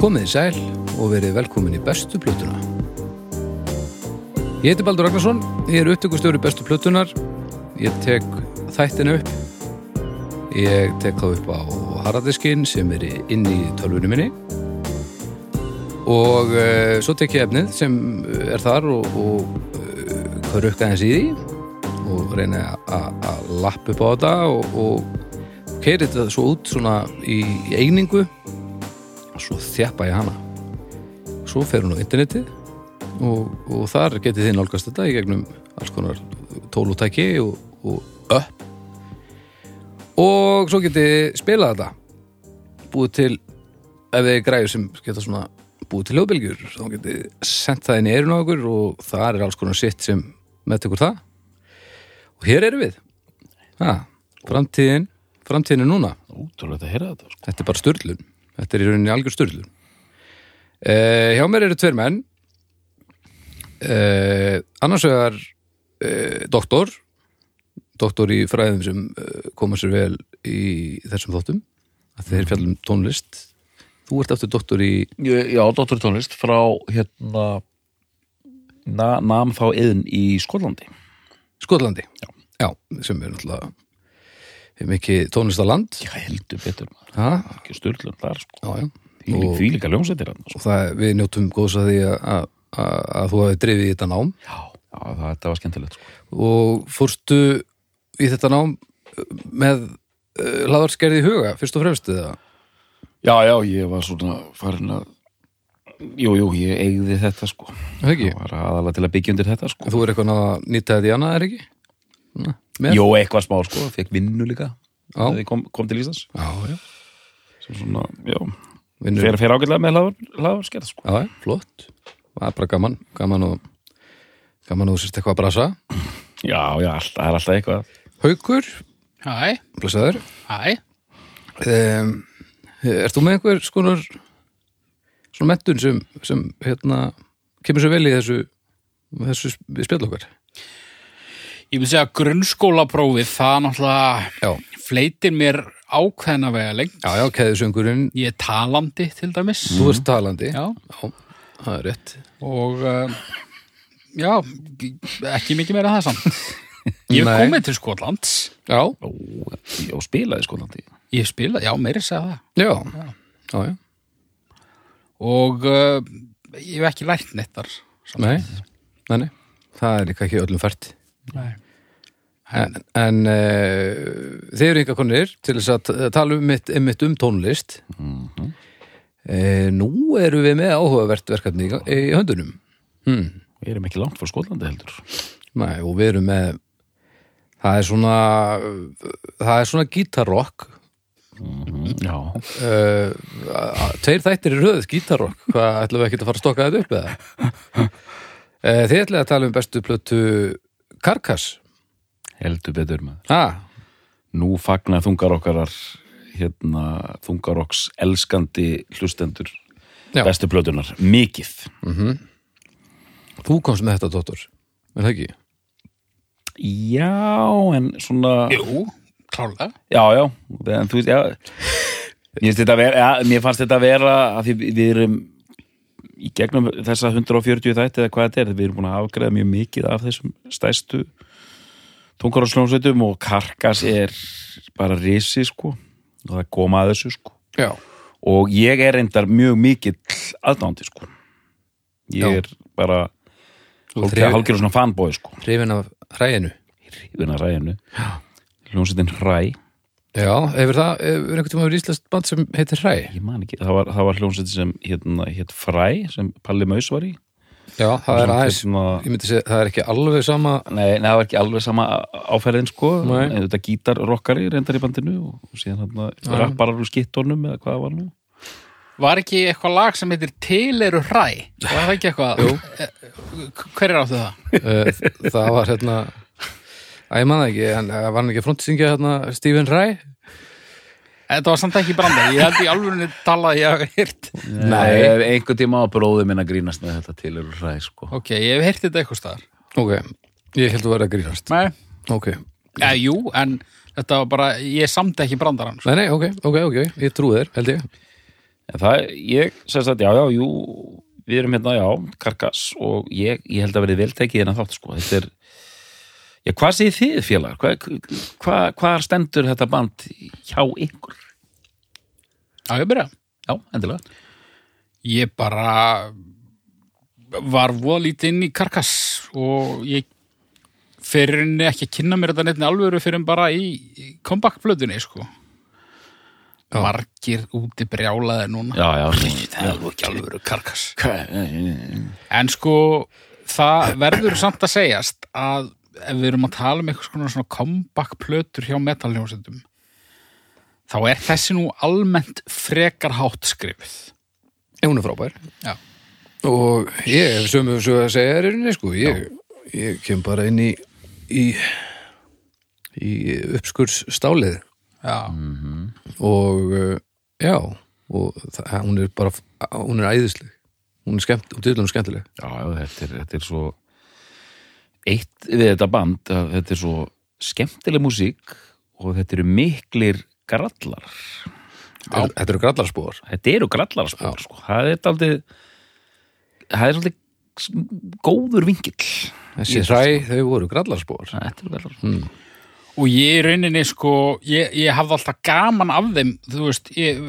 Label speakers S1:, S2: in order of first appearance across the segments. S1: Komið í sæl og verið velkomin í bestu plötuna. Ég heiti Baldur Ragnarsson, ég er upptökustjóri bestu plötunar. Ég tek þættina upp. Ég tek þá upp á harðadiskin sem er inn í tölvunum minni. Og uh, svo tek ég efnið sem eh, er þar og, og uh, rukka aðeins í því og reyna að að lappa upp á þetta og, og keiri þetta svo út svona í, í einingu og svo þjappa ég hana svo fer hún á internetið og, og þar getið þið nálgast þetta í gegnum alls konar tólutæki og, og upp og svo getið þið spilað þetta búið til ef þið græður sem geta svona búið til hljóðbylgjur þá getið þið sendt það inn í eirun á okkur og þar er alls konar sitt sem meðtekur það og hér erum við ha, framtíðin, framtíðin er núna
S2: Útrúlega að heyra þetta sko.
S1: Þetta er bara styrlun. Þetta er í rauninni algjör styrlun. Uh, hjá mér eru tveir menn. Uh, annars vegar uh, doktor. Doktor í fræðum sem uh, koma sér vel í þessum þóttum. Þeir fjallum tónlist. Þú ert aftur doktor í...
S2: Ég- Já, Dóttur í tónlist frá hérna na, nam þá yðn í Skotlandi
S1: Skotlandi já. sem er náttúrulega mikið tónlistaland
S2: Já, heldur betur maður,
S1: ha?
S2: ekki styrlun þar sko.
S1: já, já.
S2: Því
S1: Og,
S2: því líka ljómsættir hann sko.
S1: og það, við njótum góðs að því að, að, að, að þú hafi drifið í þetta nám
S2: Já, já það, þetta var skemmtilegt sko.
S1: og fórstu í þetta nám uh, með uh, laðarskerði í huga, fyrst og fremst eða?
S2: Já, já, ég var svona farin að Jú, jú, ég eigði þetta sko
S1: Er Ekki?
S2: Ég var aðalega til að byggja undir þetta sko
S1: Þú er eitthvað að nýta þetta í annað, er ekki? Na, með?
S2: Jó, eitthvað smá sko, fekk vinnu líka
S1: Já.
S2: Þegar ég kom, kom til Íslands
S1: Já, já.
S2: Sem svona, já,
S1: Vinnur,
S2: fer, fer ágætlega með hlaður skerð sko
S1: já, já, flott. Það er bara gaman, gaman og gaman og sérst eitthvað að brasa.
S2: Já, já, alltaf, það er alltaf eitthvað
S1: Haukur,
S3: Hæ,
S1: blessaður.
S3: hæ,
S1: Um, ert þú með einhver skonar svona mentun sem, sem hérna, kemur svo vel í þessu, þessu spjall okkar?
S3: ég myndi segja að grunnskólaprófið, það náttúrulega
S1: Já,
S3: fleitir mér ákveðna vega lengt.
S1: já, já, keðisöngurinn,
S3: Ég er talandi til dæmis
S1: þú ert talandi.
S3: Já.
S1: Já, það er rétt.
S3: og uh, já, ekki mikið meira það samt. Ég hef
S1: Nei.
S3: komið til Skotlands,
S1: Já,
S2: Ó, já, spilaði Skotlandi
S3: ég hef spilað, já, meiri segja það.
S1: já, já, já,
S3: Og uh, ég hef ekki lært neitt þar. samt.
S1: nei, nei, nei, það er líka ekki öllum fært.
S3: Nei.
S1: En, en uh, þið eru ykkar konir til þess að t- tala um mitt, einmitt um tónlist. Mm
S3: Mhm.
S1: nú eru við með áhugavert verkefni í, í höndunum. Hmm.
S2: Við erum ekki langt frá Skotlandi heldur
S1: Nei, og við erum með, það er svona, eh, það er svona gítarrock.
S2: Já,
S1: Uh, tveir þættir í röð, gítarrock. Hvað ætlum við ekki að fara að stokka þetta upp eða? Uh, þið ætlum að tala um bestu plötu Karkas.
S2: heldur betur maður
S1: Ha,
S2: Nú fagna þungar okkarar hérna, þungarokks elskandi hlustendur
S1: Já.
S2: bestu plötunar, mikið
S1: þú komst með þetta, Dóttur. Er það ekki?
S2: Já, en svona
S3: Jú, klálega.
S2: Já, já, en þú veist, já Mér, finnst þetta vera, ja, mér fannst þetta vera að því við erum í gegnum þessa 140 þætti eða hvað þetta er, við erum búin að afgreða mjög mikið af þessum stæstu tungararslónsveitum og karkas er bara risi sko og það koma að þessu sko
S1: Já.
S2: og ég er reyndar mjög mikill aðdándi sko ég
S1: Já.
S2: er bara
S1: hrifin-
S2: hálfgerður svona fanboy sko
S1: Hrifin af hræinu.
S2: hrifin að ræðinu hljónsettin hræ,
S1: Já, hefur það, hefur einhvern tímann verið íslenskt band sem heitir hræ?
S2: ég man ekki það var, það var hljónsettin sem hérna, hétt fræ sem Palli Maus var í
S1: Já, það er
S2: Svona
S1: aðeins,
S2: hérna-
S1: ég myndi segja, það er ekki alveg sama,
S2: Nei, nei, það var ekki alveg sama áferðin sko,
S1: Nei.
S2: en þetta gítarrokkari reyndar í bandinu og síðan hann rapparar úr skittónum eða hvað það var nú
S3: Var ekki eitthvað lag sem heitir Til eru hræ? Var það ekki eitthvað? Jú. Hver er áttu það?
S1: uh, það var hérna, að ég man það ekki, hann var hann ekki að frontsingja hérna Stephen Hræ?
S3: Þetta var samt ekki brandar, ég held í alvörunni tala að ég hef heyrt.
S2: Nei, ef einhvern tíma á bróðum minna grínast með þetta til eru hræ sko
S3: Ok, ég hef heyrt þetta eitthvað staðar.
S1: Ok, ég held að vera að grínast.
S3: Nei.
S1: Ok,
S3: Ja, jú, en þetta var bara, ég samti ekki brandarann. sko.
S1: nei, nei, ok, ok, ok, ég trú þér, held ég.
S2: en það, ég sem sagt, já, já, jú við erum hérna, já, karkas og ég, ég held að verið veltekið hérna þátt sko, þetta er já, hvað segir þið félagar, hvað, hvað, hvað stendur þetta band hjá ykkur
S3: Já, ég byrja.
S2: já, endilega,
S3: Ég bara var voða lítið inn í karkass og ég fyrir henni ekki að kynna mér þetta neittni alvöru fyrir en bara í í comeback-blöðunni, sko. Margir úti brjálaði núna.
S2: já, já,
S3: Það er nú ekki alvöru karkass.
S2: já.
S3: En sko, það verður samt að segjast að ef við erum að tala um eitthvað svona, svona comeback plötur hjá metalhjómsveitum þá er þessi nú almennt frekar hátt skrifið.
S1: Ef hún er frábær
S3: Já.
S1: og ég hef sömu svo að segja er einni sko ég, ég kem bara inn í í, í uppskursstálið
S3: Já.
S1: og uh, já og það, hún er bara hún er æðisleg, hún er skemmt og dýrlum skemmtileg
S2: Já, já, þetta er, þetta er svo eitt við þetta band að þetta er svo skemmtileg músík og þetta eru miklir grallar
S1: Þetta eru- þetta eru grallarspor
S2: þetta eru grallar spór, sko það er aldrei það er aldrei góður vingill
S1: þessi hræ, þau voru grallarspor
S2: þetta eru grallar mm.
S3: Og ég í rauninni, sko, ég, ég hafði alltaf gaman af þeim, þú veist, ég,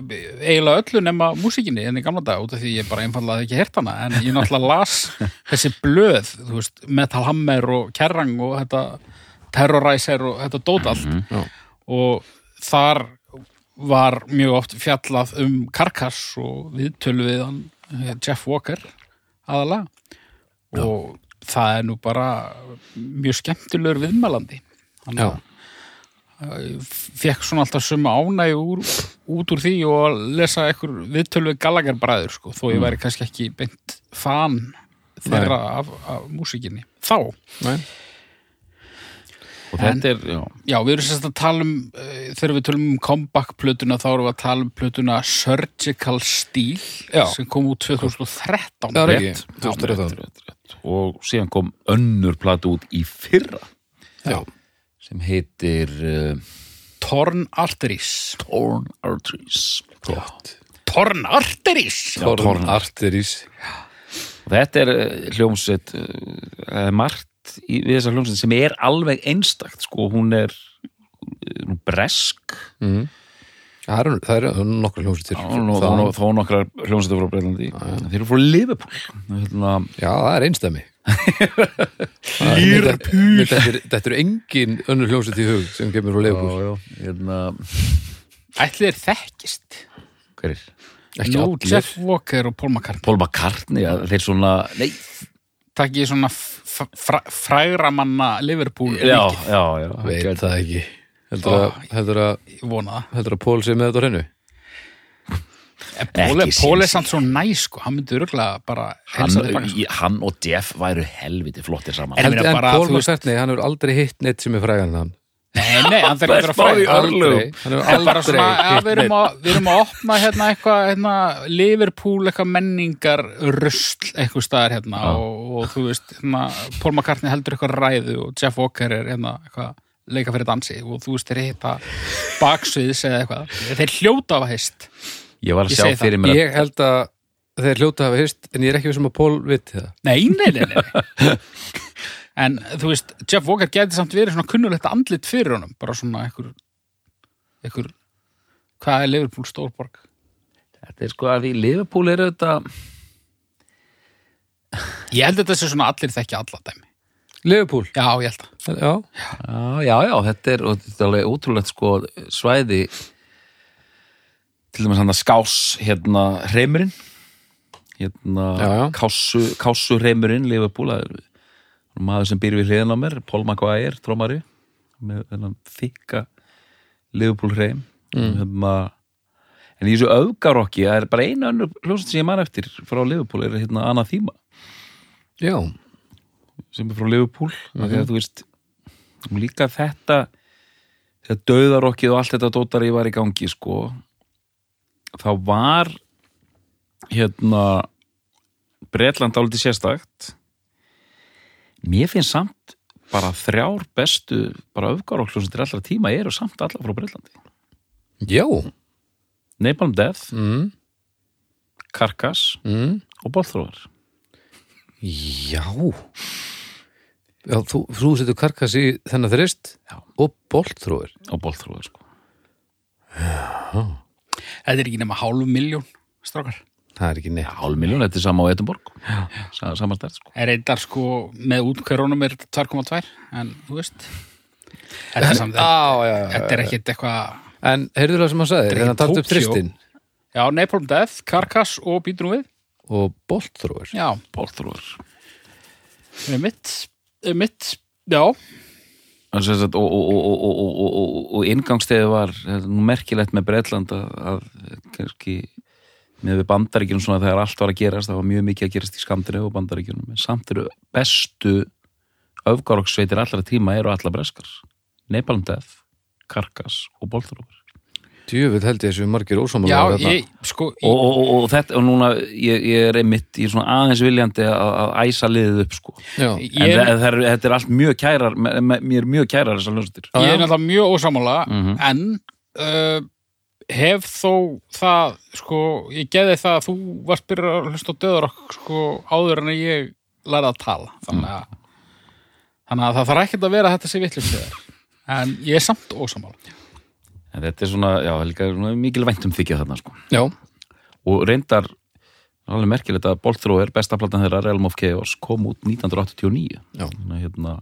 S3: eiginlega öllu nema músíkinni enn í gamla dag, út af því ég bara einfallega ekki hert hana, en ég náttúrulega las þessi blöð, þú veist, Metal Hammer og Kerrang og þetta Terrorizer og þetta dót allt
S1: já.
S3: og þar var mjög oft fjallað um Karkas og viðtölu við hann eh, Jeff Walker aðalega og það er nú bara mjög skemmtilegur viðmælandi hann
S1: Já.
S3: fekk svona alltaf sömu ánægju úr, út úr því og að lesa ekkur viðtölu við Gallagher bræður sko, þó
S1: Mm.
S3: ég væri kannski ekki beint fan þeirra af, af músikinni þá,
S1: Nei.
S2: og þetta er, já,
S3: já, við erum sérst að tala um uh, þegar við tölum um comeback-plötuna þá erum við að tala um plötuna Surgical Steel
S1: Já.
S3: sem kom út 2013
S1: Já, er ekki?
S2: rétt,
S1: Þú veist,
S2: Já,
S1: rétt
S2: rétt, rétt, rétt. og síðan kom önnur platu út í fyrra
S1: já,
S2: sem heitir uh,
S3: Torn Arteries
S2: Torn Arteries
S1: gott
S3: Torn Arteries?
S2: Já, Torn
S1: Torn Arteris
S2: Og þetta er eh, hljómsveit eh, það er margt í, við þessa hljómsveit sem er alveg einstakt sko, hún er eh, hún er bresk
S1: Mhm. það eru er, er nokkra hljómsveitir
S2: hún og-
S1: Það-
S2: hún og- þó nokkrar hljómsveitur frá Breitlandi En þeir eru frá Liverpool hérna,
S1: Já, það er einstæmi Lýrpúl Þetta eru engin önnur hljómsveit í hug sem kemur frá leifbúl
S2: hérna,
S3: Ætli þeir þekkist?
S2: hver er?
S1: Ekki
S3: Nú,
S1: allir.
S3: Jeff Walker og Paul McCartney
S2: Paul McCartney, ja, þeir svona nei,
S3: takk ég svona f- fr- frægra manna Liverpool
S2: já,
S3: líkið,
S2: já, já
S1: Veit það ekki Heldur að, heldur að,
S3: ég vona
S1: heldur að Pól sé með þetta á hennu
S3: það Pól-
S2: Ekki
S3: Pól
S2: séns.
S3: er samt svo næ sko, hann myndi örgulega bara
S2: hann,
S3: helsa þig baka sko.
S2: í- hann og Jeff væru helviti flottir saman
S3: En-
S2: en,
S1: En,
S3: meina
S1: en
S3: bara,
S1: Pól
S3: þú
S1: maður
S3: veist-
S1: sagt nei, hann hefur aldrei hitt neitt sem er frægan en hann
S3: Nei, nei, hann þarf ekki að vera
S2: Spáðu í
S3: fræg
S2: örlög.
S1: Aldrei, hann hefur
S3: En bara
S1: aldrei
S3: svona, ja,
S1: hitt
S3: við, erum að, við erum að opna hérna eitthvað, hérna, Liverpool eitthvað menningar rusl eitthvað staðar hérna og, og þú veist, hérna, Paul McCartney heldur eitthvað ræðu og Jeff Walker er hérna eitthvað leika fyrir dansi og þú veist, þeir hitta baksviðs eða eitthvað þeir hljóta af að heist
S2: ég var að
S3: ég
S2: sjá
S3: segi það.
S2: fyrir mér
S1: neitt
S2: að
S1: Ég held að þeir hljóta hafa hist en ég er ekki vissum að Pól viti það
S3: Nei, nei, nei, nei. En þú veist, Jeff Walker gæti samt verið svona kunnulegt andlit fyrir honum, bara svona einhver, einhver, hvað er Liverpool stórborg?
S2: þetta er sko að því Liverpool eru þetta
S3: Ég held að þetta sé svona allir þekki alla dæmi.
S1: Leifbúl,
S3: Já, ég held að.
S1: já,
S2: Já, já, já, þetta er, og þetta er alveg ótrúlegt sko svæði til dæmis hann að skás hérna hreimurinn hérna
S1: Já, já.
S2: kásu, kásu hreimurinn Liverpool það er maður sem býr við hliðin á mér Paul McGuire, trómari með þennan þykka Liverpool hreim mm. hérna, en í þessu öfgarokki það er bara eina önnur hljóðsett sem ég man eftir frá Liverpool er hérna Anathema
S1: já
S2: sem er frá Liverpool mm því að þú veist og líka þetta þegar döðarokkið og allt þetta dótari var í gangi sko þá var hérna Bretland álítið sérstakt mér finnst samt bara þrjár bestu bara öfgarokkljóð sem til allra tíma eru samt alla frá Bretlandi
S1: Já,
S2: Napalm Death,
S1: mm.
S2: karkas
S1: mm.
S2: og bólþróar
S1: Já Já, þú, þú setur karkas í þennan þrist
S2: Já.
S1: og boltróir
S2: og bólþróar sko
S3: Þetta er ekki nema hálf miljón strákar.
S1: Það er ekki neitt
S2: hálf miljón, þetta er sama á Edinborg sama stærð sko
S3: Er reyndar sko með útkverunum er þetta 2,2 en þú veist Þetta er samt þetta
S1: Já, já, já
S3: þetta er ekkit eitthvað
S1: En heyrðu það sem hann sagði,
S3: Þetta er
S1: þannig að takt upp
S3: Tókýó.
S1: þristin
S3: Já, Napalm Death, Karkas og Býtum við
S1: og boltróir
S3: Já,
S2: bólþróar
S3: mitt, mitt Já,
S2: og, sem sagt, og, og, og, og, og, og, og, og, og ingangstegið var þetta er nú merkilegt með Bretland að, að kannski með við bandaríkjunum svona þegar allt var að gerast það var mjög mikið að gerast í skamdrið og bandaríkjunum en samt eru bestu öfgaroksveitir allra tíma eru allar breskar Nepalum Death, Karkas og Bólþróar
S1: Djöfull held ég þessu margir ósámála
S3: já,
S1: á þarna.
S3: ég, sko
S2: og, og, og, og þetta og núna ég, ég er einmitt í svona aðeins viljandi að, að æsa liðið upp sko
S1: já.
S3: ég,
S2: en
S3: ég,
S2: það, það er, þetta er allt mjög kærar me- me- mér er mjög kærar þessar hljómsveitir
S1: Já,
S3: ég
S1: já.
S3: er náttúrulega mjög ósamála
S2: Mhm.
S3: en uh, hef þó það sko, ég geði það að þú varst byrjar að hlusta á döður okkur sko, áður en að ég læra að tala þannig
S1: Mhm.
S3: að, þannig að það þarf ekkert að vera að þetta sé vitlust en ég er samt ósamála
S2: en þetta er svona, já, líka svona mikil væntum þykja þarna sko
S1: já,
S2: og reyndar alveg merkilegt að Boltró er besta platan þeirra Realm of Chaos kom út 1989
S1: Já.
S2: þannig að hérna,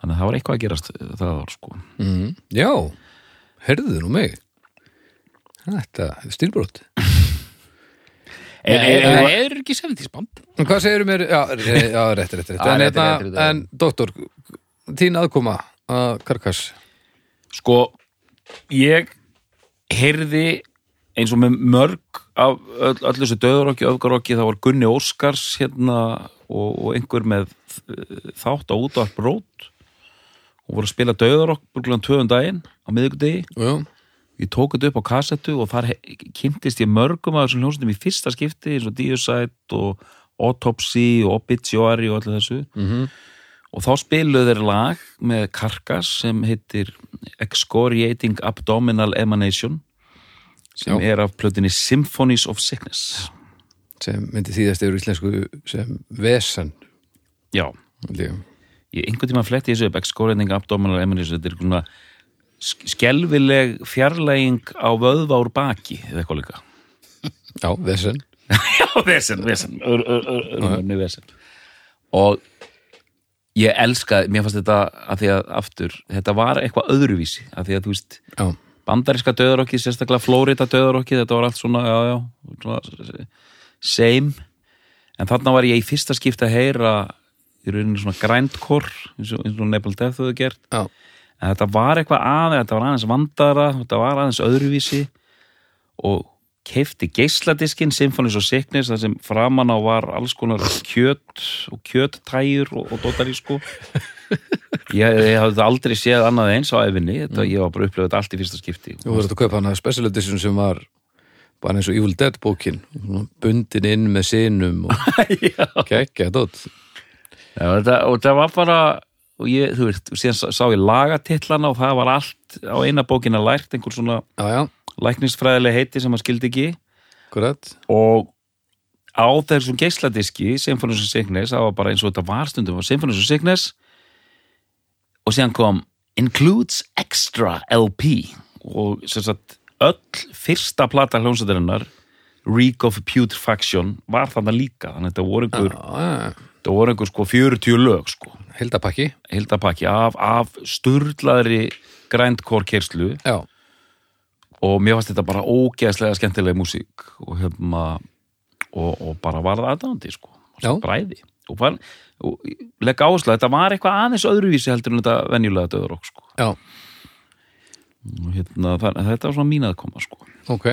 S2: þannig að það var eitthvað að gerast eh, það var sko
S1: mm. já Heyrðu nú mig Þetta, er stílbrot
S2: en,
S3: Nei,
S2: en,
S3: það
S2: en,
S3: er ekki 70s band
S1: En hvað segirðu mér, já, re- já, rétt, rétt, rétt
S2: Já,
S1: En, hérna,
S2: rétt, rétt, rétt, rétt.
S1: en doktor, þín aðkoma að karkas
S2: sko ég heyrði eins og með mörg af öll, öll þessu döðurokki, öfgarokki það var Gunni Óskars hérna og, og einhver með eh, þátt á útvarp rót og voru að spila döðurokk burglan tvöðum um daginn á miðvikudegi
S1: Já,
S2: ég tók þetta upp á kassettu og þar he- kynntist ég mörgum af þessum hljómsveitum í fyrsta skipti eins og Diosite og Autopsy og Obituary og allir þessu
S1: mhm
S2: og þá spiluðu þeir lag með Karkas sem heitir Excoriating Abdominal Emanation sem
S1: Já.
S2: er af plötinni Symphonies of Sickness
S1: sem myndi þýðast yfir íslensku sem vesen
S2: Já,
S1: held ég.
S2: ég einhvern tíma fletti þessu upp Excoriating Abdominal Emanation þetta er svona sk- skelfileg fjarlæging á vöðva úr baki eða eitthvað líka
S1: Já, vesen
S2: Já, vesen, vesen Ör- ör- ör- örmurni vesen og ég elska mér fannst þetta að því að aftur þetta var eitthvað öðruvísi að því að þú veist
S1: Já,
S2: bandaríska döðarokki, sérstaklega Flórida döðarokki þetta var allt svona, já, já svona, same en þarna var ég í fyrsta skipti að heyra í rauninni svona grindkor eins og, eins og Nepal Death höfðu gert
S1: já,
S2: en þetta var eitthvað aðeins, þetta var aðeins vandara þetta var aðeins öðruvísi og keifti geisladiskinn Symphonies og Sickness þar sem framan á var alls konar kjöt og kjöttægjur og, og dótari sko ég, ég hafði aldrei séð annað eins á efinni þetta, ég var bara að upplifa þetta allt í fyrsta skipti
S1: þú voru að kaupa hana special edition sem var bara eins og Evil Dead bókin svona bundin inn með sinum og geggja dótt
S2: Já, þetta, og það var bara og ég, þú veist, síðan sá- sá ég lagatillana og það var allt á eina bókina lært einhver svona
S1: Já, já,
S2: læknisfræðileg heiti sem maður skildi ekki
S1: korrekt
S2: og á þessum geisladiski Symphonies of Sickness, það var bara eins og þetta var stundum á Symphonies of Sickness og síðan kom Includes Extra LP og sem sagt öll fyrsta plata hljónsættarinnar Reek of Putrefaction var þarna líka, þannig að þetta voru einhver,
S1: Já,
S2: þetta voru einhver sko 40 lög sko
S1: hildapakki
S2: hildapakki af, af sturlaðri grindcore kyrslu
S1: Já,
S2: og mér fannst þetta bara ógeðslega skemmtileg músík og, hefma, og, og bara varða aðdándi sko,
S1: Já.
S2: bræði og, var, og legg áherslu að þetta var eitthvað aðeins öðruvísi heldur en þetta venjulega döður okk sko.
S1: já,
S2: Og hérna, það, þetta var svona mín aðkoma sko.
S1: ok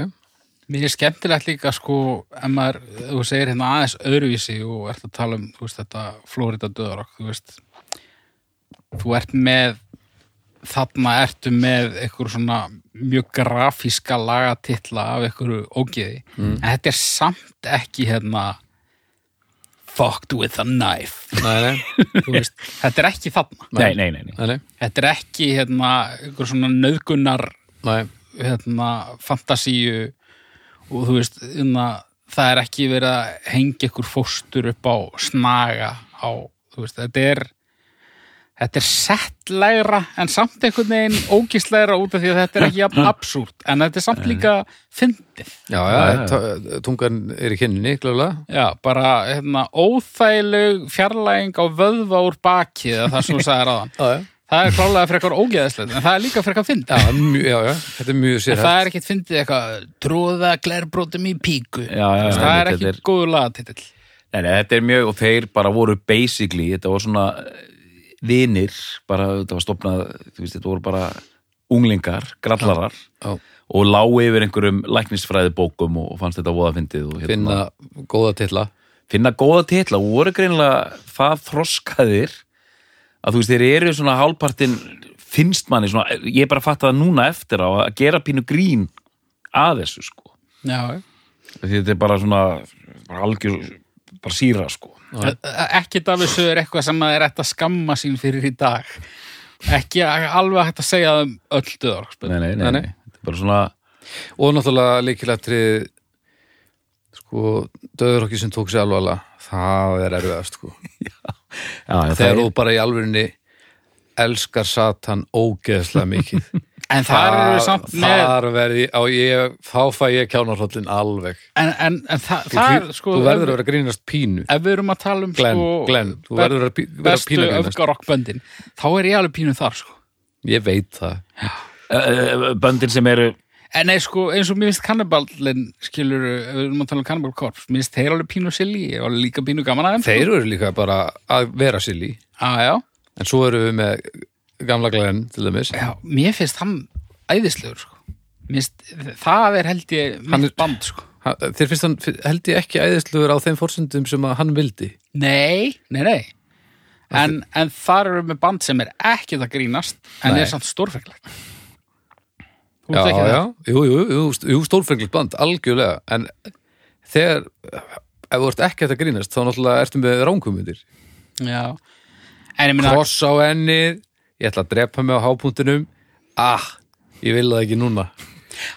S3: Mér er skemmtilegt líka sko ef maður, þú segir hérna aðeins öðruvísi og ert að tala um, þú veist, þetta Florida döðarokk, þú veist þú ert með þarna ertu með einhver svona mjög grafíska lagatitla af einhverju ógeði en þetta er samt ekki hérna fucked with a knife
S1: Nei, nei,
S3: þú veist, þetta er ekki þarna
S2: nei, nei, nei, nei.
S1: nei, nei,
S3: þetta er ekki hérna einhver svona nöðgunnar
S1: nei.
S3: hérna, fantasíu og þú veist, hérna, það er ekki verið að hengja ykkur fóstur upp á snaga á, þú veist, þetta er þetta er settlegra en samt einhvern veginn ógistlegra út af því að þetta er ekki jafn absúrt en þetta er samt líka fyndið
S1: Já, já, t- tungan er í kynninni, klálega
S3: Já, bara hérna, óþægileg fjarlæging á vöðva úr baki eða það sem þú sagði ráðan
S1: Já, já,
S3: það er klálega frekar ógeðslegt en það er líka frekar fyndið
S1: já, mjö- já, já, þetta er mjög
S3: En
S1: sérhæft
S3: það er ekkert fyndið eitthvað tróða glerbrótum í píku
S2: Já, já, já,
S3: það er
S2: þetta
S3: ekki
S2: er-
S3: góður lagatitill
S2: Nei, nei, þetta er mjög, og þeir bara voru basically, þetta voru svona eh, vinir, bara, þetta var stopnað, þú veist, þetta voru bara unglingar, grallarar,
S1: Já.
S2: og lágu yfir einhverjum læknisfræðibókum og, og fannst þetta voða fyndið. Og, hérna-
S1: finna góða titla
S2: finna góða titla, og voru greinilega það þroskaðir, að þú veist, þeir eru svona hálpartin, finnst manni svona, ég er bara að fatta það núna eftir á að gera pínu grín að þessu, sko.
S3: Já,
S2: Því þetta er bara svona, bara algjör, bara síra, sko.
S3: ekkert af þessu er eitthvað sem maður er hægt að skamma sín fyrir í dag ekki alveg hægt að segja það um öll döðar
S2: Nei, nei, nei,
S1: Nei, nei.
S2: nei. Þetta er bara svona,
S1: og náttúrulega líkilættri sko, döðurokki sem tók sér alveg alveg það er erfiðast sko
S2: já, já,
S1: þegar þú bara í alvörinni elskar Satan ógeðslega mikið
S3: En þar eru samt með
S1: þar verði, á ég, þá fæ ég kjánarhóllin alveg
S3: En, en, en þa þar, sko
S1: þú verður að vera að grínast pínu
S3: Ef við erum að tala um
S1: Glenn,
S3: sko
S1: Glenn, þú verður að pí- vera
S3: Bestu
S1: pínu að grínast.
S3: öfgarokkböndin Þá er ég alveg pínu þar, sko
S1: ég veit það
S2: uh, böndin sem eru
S3: En nei, sko, eins og mér finnst kanniballin skilur, ef við erum að tala um kanniballkorps mér finnst þeir alveg pínu silly, ég er alveg líka pínu gaman aðeins
S1: þeir eru líka bara að vera silly
S3: ah, já.
S1: en svo eru við með gamla Glenn til dæmis
S3: já, mér finnst hann æðislegur sko. Mér finnst, það er held ég mitt band, sko
S1: Ha- þér finnst hann, held ég ekki æðisluður á þeim fórsendum sem að hann vildi
S3: Nei, nei, nei En, en þar eru með band sem er ekki það grínast en
S1: Nei.
S3: er samt stórfeklegt Þú
S1: já,
S3: veist ekki
S1: já,
S3: það?
S1: jú, jú, jú, st- jú stórfenglegt band, algjörlega en þegar ef þú ert ekki hægt að grínast, þá náttúrulega ertu með ránkumundir,
S3: Já. En ég meina,
S1: kross á ennið ég ætla að drepa mig á hápuntinum ah, ég vil það ekki núna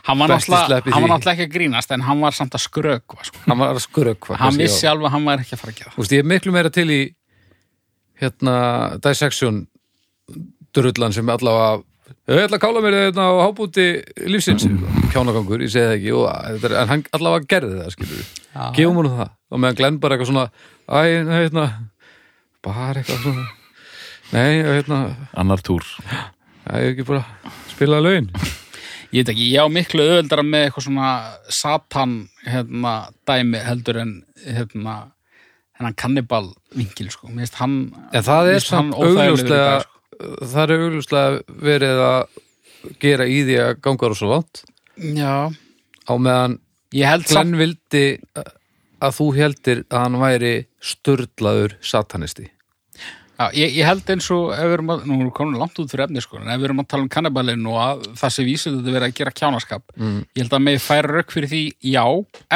S3: hann var
S1: besti
S3: náttúrulega
S1: slepp í
S3: hann var
S1: því.
S3: náttúrulega ekki að grínast en hann var samt að skrökva sko.
S1: hann var að skurökva
S3: hann vissi alveg að hann var ekki að fara að gera það.
S1: Þú veist, ég er miklu meira til í hérna, dissection drullan sem allavega ég ætla að kála mér þetta á hábúti lífsins, kjánagangur, ég segi það ekki og, þetta er- en hann allavega gerði það, skilur við gefum honum það, og meðan Glenn bara eitthvað svona æ, nei, hérna bara eitthvað svona nei, hérna,
S2: annar túr
S1: æ, ég ekki bara spilaði lögin
S3: Ég veit ekki, ég á miklu öðuldara með eitthvað svona satan hérna, dæmi heldur en hérna, hennan kannibal vingil sko. Mér finnst hann
S1: en það
S3: mér
S1: er
S3: finnst hann
S1: samt
S3: óþægilegur í
S1: augljóslega
S3: dag, sko.
S1: það er augljóslega verið að gera í því að ganga rosa langt
S3: Já,
S1: á meðan
S3: ég held samt
S1: Glenn vildi að þú heldir að hann væri störlaður satanisti
S3: Já, ég, ég held eins og ef við erum að, nú erum við komin langt út fyrir efni sko, en ef við erum að tala um kannibalinn og að það sé vísið þetta verið að gera kjánaskap mm. ég held að með færa rauk fyrir því já,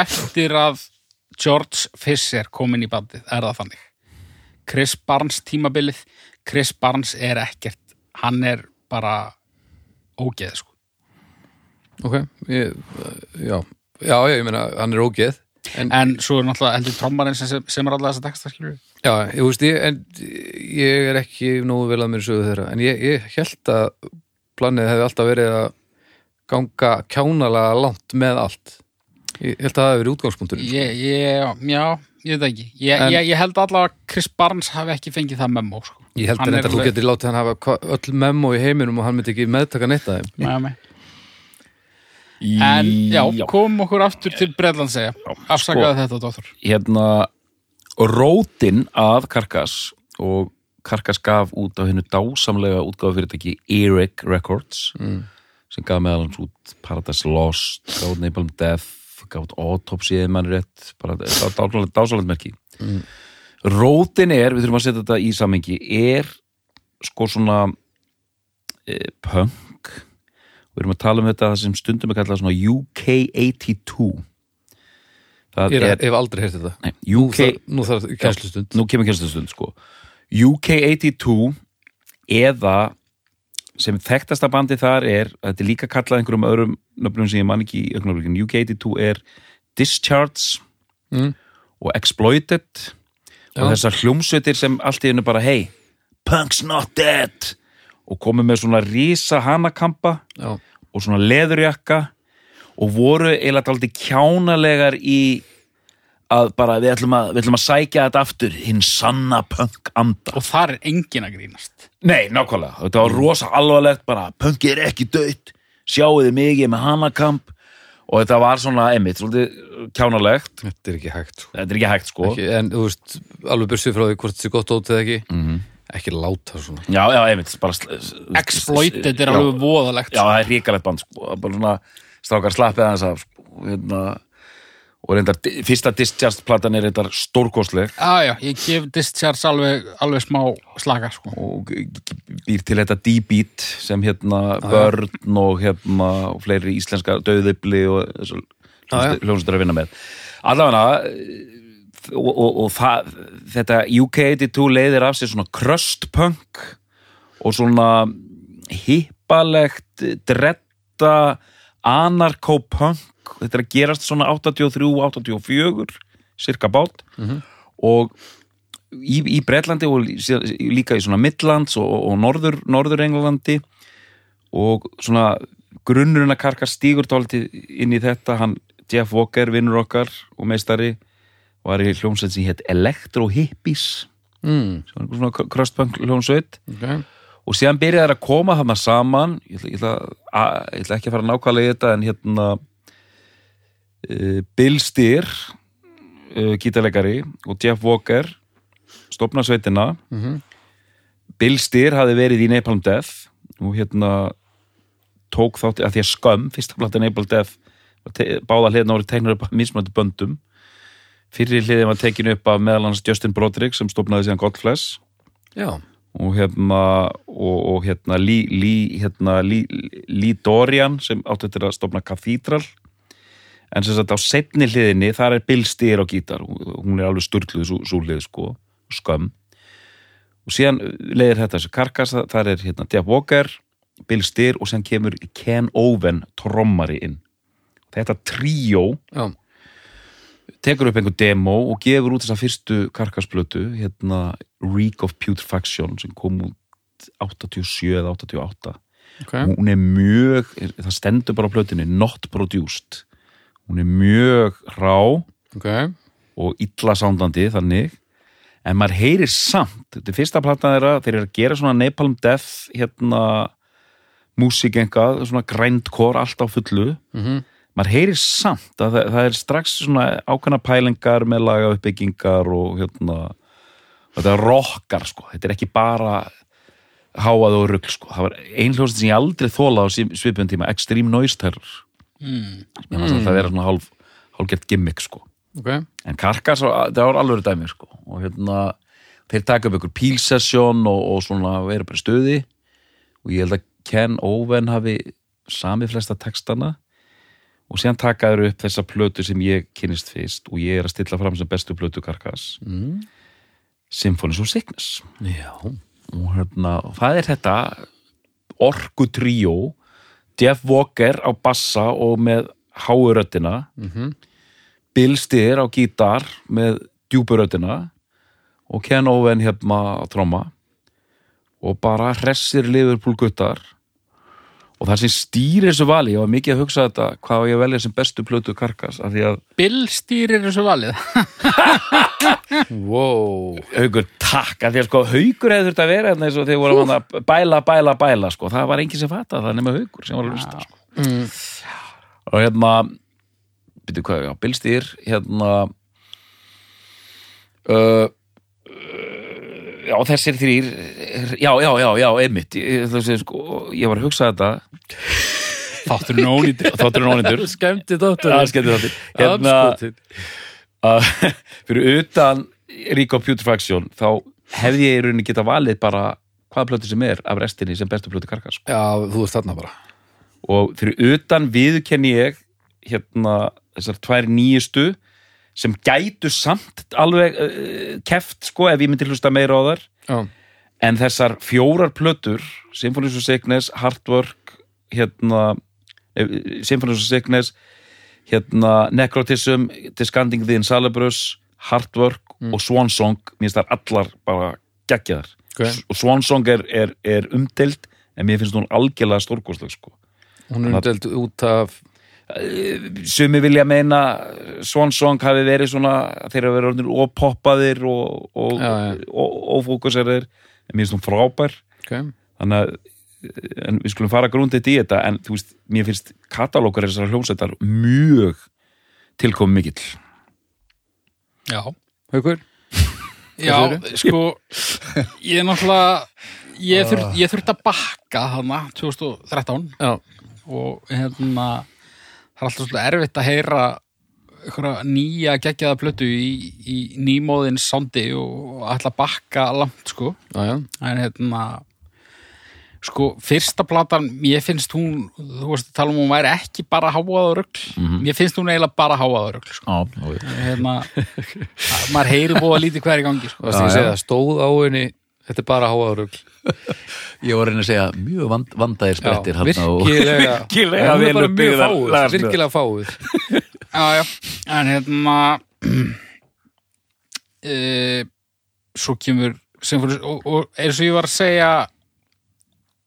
S3: eftir að George Fisher kom inn í bandið er það þannig Chris Barnes tímabilið, Chris Barnes er ekkert, hann er bara ógeð sko
S1: ok, ég, já já, já, ég meina, hann er ógeð en,
S3: en svo er náttúrulega heldur trommarinn sem, sem er alltaf þess að texta skilur
S1: já, ég veist ég en ég er ekki nógu vel að mér sögu þeirra en ég, ég held að planið hefði alltaf verið að ganga kjánalega langt með allt ég held að það hefði verið útgangspunkturinn
S3: ég, ég, já, ég veit ekki ég,
S1: En-
S3: ég, ég held allavega að Chris Barnes hafi ekki fengið það memo sko.
S1: ég held
S3: Hann
S1: að
S3: er
S1: þetta þú
S3: alveg-
S1: getur látið hann hafa hva- öll memo í heiminum og hann myndi ekki meðtaka neitt að þeim
S3: með mig En já, komum okkur aftur til Bredlands segja. Afsakaði þetta, dóttur.
S2: hérna rótin að Karkas og Karkas gaf út á hennu dásamlega útgáðu fyrirtæki Eric Records sem gaf meðal hans út Paradise Lost, gáð Napalm Death gáð Autopsy eða mann rétt bara dásamlega merki rótin er, við þurfum að setja þetta í samengi, er sko svona e, punk við erum að tala um þetta sem stundum er kallað svona UK82 það
S1: ég
S2: er,
S1: er- hef aldrei heyrt þetta
S2: nei,
S1: nú
S2: UK
S1: þarf, nú þarf kjænslustund
S2: nú kemur kynslustund sko UK82 eða sem þekktasta bandi þar er þetta er líka kallað einhverjum öðrum nöfnum sem ég man ekki í augnablikin UK82 er Discharge
S1: Mm.
S2: og Exploited og þessar hljómsveitir sem allt í hennu bara hey, punk's not dead og komu með svona rísa hanakampa
S1: já,
S2: og svona leðurjakka og voru eiginlega aldrei kjánalegar í að bara við ætlum að, við ætlum að sækja þetta aftur hinn sanna punk anda
S3: og þar er engin að grínast
S2: Nei, nákvæmlega, þetta var rosa alvarlegt bara, punki er ekki dött sjáuði mig, ég er með hanakamp og þetta var svona, einmitt, svolítið kjánalegt,
S1: þetta er ekki hægt sko.
S2: þetta er ekki hægt sko
S1: ekki, en þú veist, alveg bursið frá því hvort þessi gott ótið ekki -hmm. ekki láta svona
S2: Já, já, einmitt, bara sl- sl-
S3: Exploited
S2: Já,
S3: er alveg voðalegt
S2: Já, það er ríkalegt band, sko, bara svona strákar slappið hans af, sko, hérna og reyndar, di- fyrsta Discharge-platan er reyndar stórkosleg
S3: Já, já, ég gef Discharge alveg, alveg smá slaka sko.
S2: og g- g- býr til þetta D-Beat sem hérna börn og hérna og fleiri íslenska döðibli og þessu
S1: já.
S2: hljómsveitur að vinna með allavega eh, og, og, og það, þetta UK82 leiðir af sér svona crust punk og svona hippalegt dretta anarkopunk þetta er að gerast svona 83-84 cirka bát
S1: Mhm.
S2: og í, í Bretlandi og síðan- líka í svona Midlands og, og Norður, Norður Englandi og svona grunnurinn að karka stígur tólti inn í þetta, hann Jeff Walker vinnur okkar og meistari var í hljómsveit sem hétt Electro Hippies
S1: mm.
S2: sem var einhver svona crustpunk hljómsveit
S1: okay.
S2: og síðan byrjaði þær að koma þarna saman ég ætla, ég, ætla, að, ég ætla ekki að fara nákvæmlega í þetta en hérna uh, Bill Steer uh, gítarleikari og Jeff Walker stofna sveitina
S1: Mhm.
S2: Bill Steer hafði verið í Napalm Death og hérna tók þátt að því að skömm, fyrsta plata Napalm Death var te- báða hliðna voru teknur upp af mismöndu böndum fyrir hliðin var tekin upp af meðal hans Justin Broderick sem stofnaði síðan Godflesh
S1: já,
S2: og hérna og, og hérna Lee, Lee, hérna Lee, Lee Dorian sem áttu til að stofna kathídral en sem sagt á setni hliðinni þar er Bill Steer á gítar Hún- hún er alveg sturgluð svo, svo hlið sko skömm og síðan leiðir þetta þessi karkas þar er hérna Jeff Walker, Bill Steer og sem kemur Ken Owen trommari inn þetta tríó
S1: já,
S2: tekur upp einhver demo og gefur út þessa fyrstu karkasplötu hérna Reek of Putrefaction sem kom út 87 eða 88
S1: ok
S3: Mm.
S2: hún er mjög, það stendur bara á plötunni not produced hún er mjög rá
S1: ok,
S2: og illa sándandi þannig en maður heyrir samt þetta er fyrsta platan þeirra, þeir eru að gera svona Napalm Death hérna músík enga, svona grændkor allt á fullu
S1: Mhm.
S2: maður heyrir samt að það, það er strax svona ákveðna pælingar með laga uppbyggingar og hérna þetta rockar sko, þetta er ekki bara háað og rugl sko það var ein hljóðsinn sem ég aldrei þóla á svipum tíma, Extreme Noise Terror mm. mér fannst mm. það vera svona hálf hálfgert gimmick sko
S1: ok
S2: en Karkas, það var alveg dæmi sko. og hérna, þeir taka upp ykkur pílsessjón og, og svona vera bara í stuði og ég held að Ken Owen hafi sami flesta textana og síðan taka þeir upp þessa plötu sem ég kynnist fyrst og ég er að stilla fram sem bestu plötu Karkas mm. Symphonies of Sickness
S1: já,
S2: og hérna, og það er þetta orku tríó Jeff Walker á bassa og með háuröddina mm -hmm. Bill Steer á gítar með djúburöddina og Ken Owen hérna á tróma og bara hressir Liverpool guttar og það sem stýrir þessu vali, ég var mikið að hugsa þetta hvað á ég að velja sem bestu plötu karkas af því að
S3: Bill stýrir þessu valið
S1: wow
S2: Haugur, takk, að því að sko Haugur hefði þurft að vera þarna eins og þeir voru að bæla, bæla, bæla, sko, það var engin sem fatta það nema Haugur sem var að lusta, sko og hérna byrju hvað, já, Billstýr hérna uh, já, þessir þrýr já, já, já, já, einmitt ég, þessi, sko, ég var að hugsa þetta
S3: Þáttur nónýtur
S2: þátturinn ónýndur
S1: skemmti þáttur
S2: það skemmti þáttir hérna, að fyrir utan Ríko Putrefaction þá hefði ég í rauninni geta valið bara hvaða plötu sem er af restinni sem bestu plötu karkas
S1: já, þú ert þarna bara
S2: og fyrir utan viðkenni ég hérna þessar tvær nýjustu sem gætu samt alveg uh, keft sko ef ég myndi hlusta meira á þar
S1: já,
S2: en þessar fjórar plötur Symphonies of Sickness, Hardwork hérna eh, Symphonies of Sickness hérna, Necrotism, Discarding the Incelebrus, Hardwork
S1: Mm.
S2: og Swansong, mér finnst þar allar bara geggjaðar
S1: Ok.
S2: og Swansong er, er, er umdelt en mér finnst hún algjörlega stórkostleg sko.
S1: hún er umdelt út af
S2: sumi vilja meina Swansong hafi verið svona þeir hafi verið orðnir ópoppaðir og, og,
S1: Já, já.
S2: og ófókuseraðir en mér finnst hún frábær
S1: okay.
S2: þannig að eh, en við skulum fara grúndið í þetta en þú veist, mér finnst katalókar þessar hljómsveitar mjög tilkomið mikill
S3: já,
S1: Haukur?
S3: já sko ég er náttúrulega ég, þur, ég þurfti að bakka þarna 2013
S1: Já,
S3: og hérna það er alltaf svolítið erfitt að heyra einhverja nýja geggjaða plötu í, í nýmóðin sándi og ætla að bakka langt sko
S1: já, já,
S3: en hérna sko, fyrsta platan, ég finnst hún þú veist að tala um hún væri ekki bara háaðurugl, mm -hmm. ég finnst hún eiginlega bara háaðurugl sko.
S2: Já,
S3: hérna, að- maður heyri búið að lítið hver í gangi sko.
S1: varst ekki að segja það, stóð á henni þetta er bara háaðurugl
S4: Ég var að reyna að segja mjög vand, vandaðir sprettir hann og
S1: virkilega,
S2: Virkilega
S1: hún er bara mjög
S2: vel uppbyggðar
S1: fáið
S2: lagasmíðar.
S1: virkilega fáið
S3: já, já. en hérna e, svo kemur symfónis, og, og eins og ég var að segja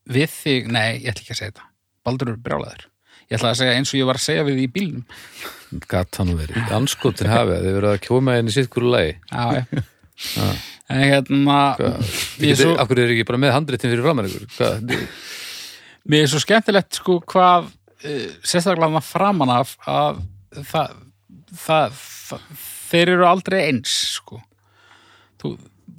S3: við þig, nei, ég ætla ekki að segja þetta Baldur er brjálæður ég ætla að segja eins og ég var að segja við þig í bílnum
S1: Gat hann verið, anskotin hafið þið verið að kjóma henni sitt hverju lagi
S3: já, já. en hérna mér er
S1: Svo...
S3: svo,
S1: Akkur er ekki bara með handritin fyrir framar ykkur Hvað?
S3: mér er svo skemmtilegt sko hvað uh, sérstaklega þarna framan af að það, það, það þeir eru aldrei eins sko þú,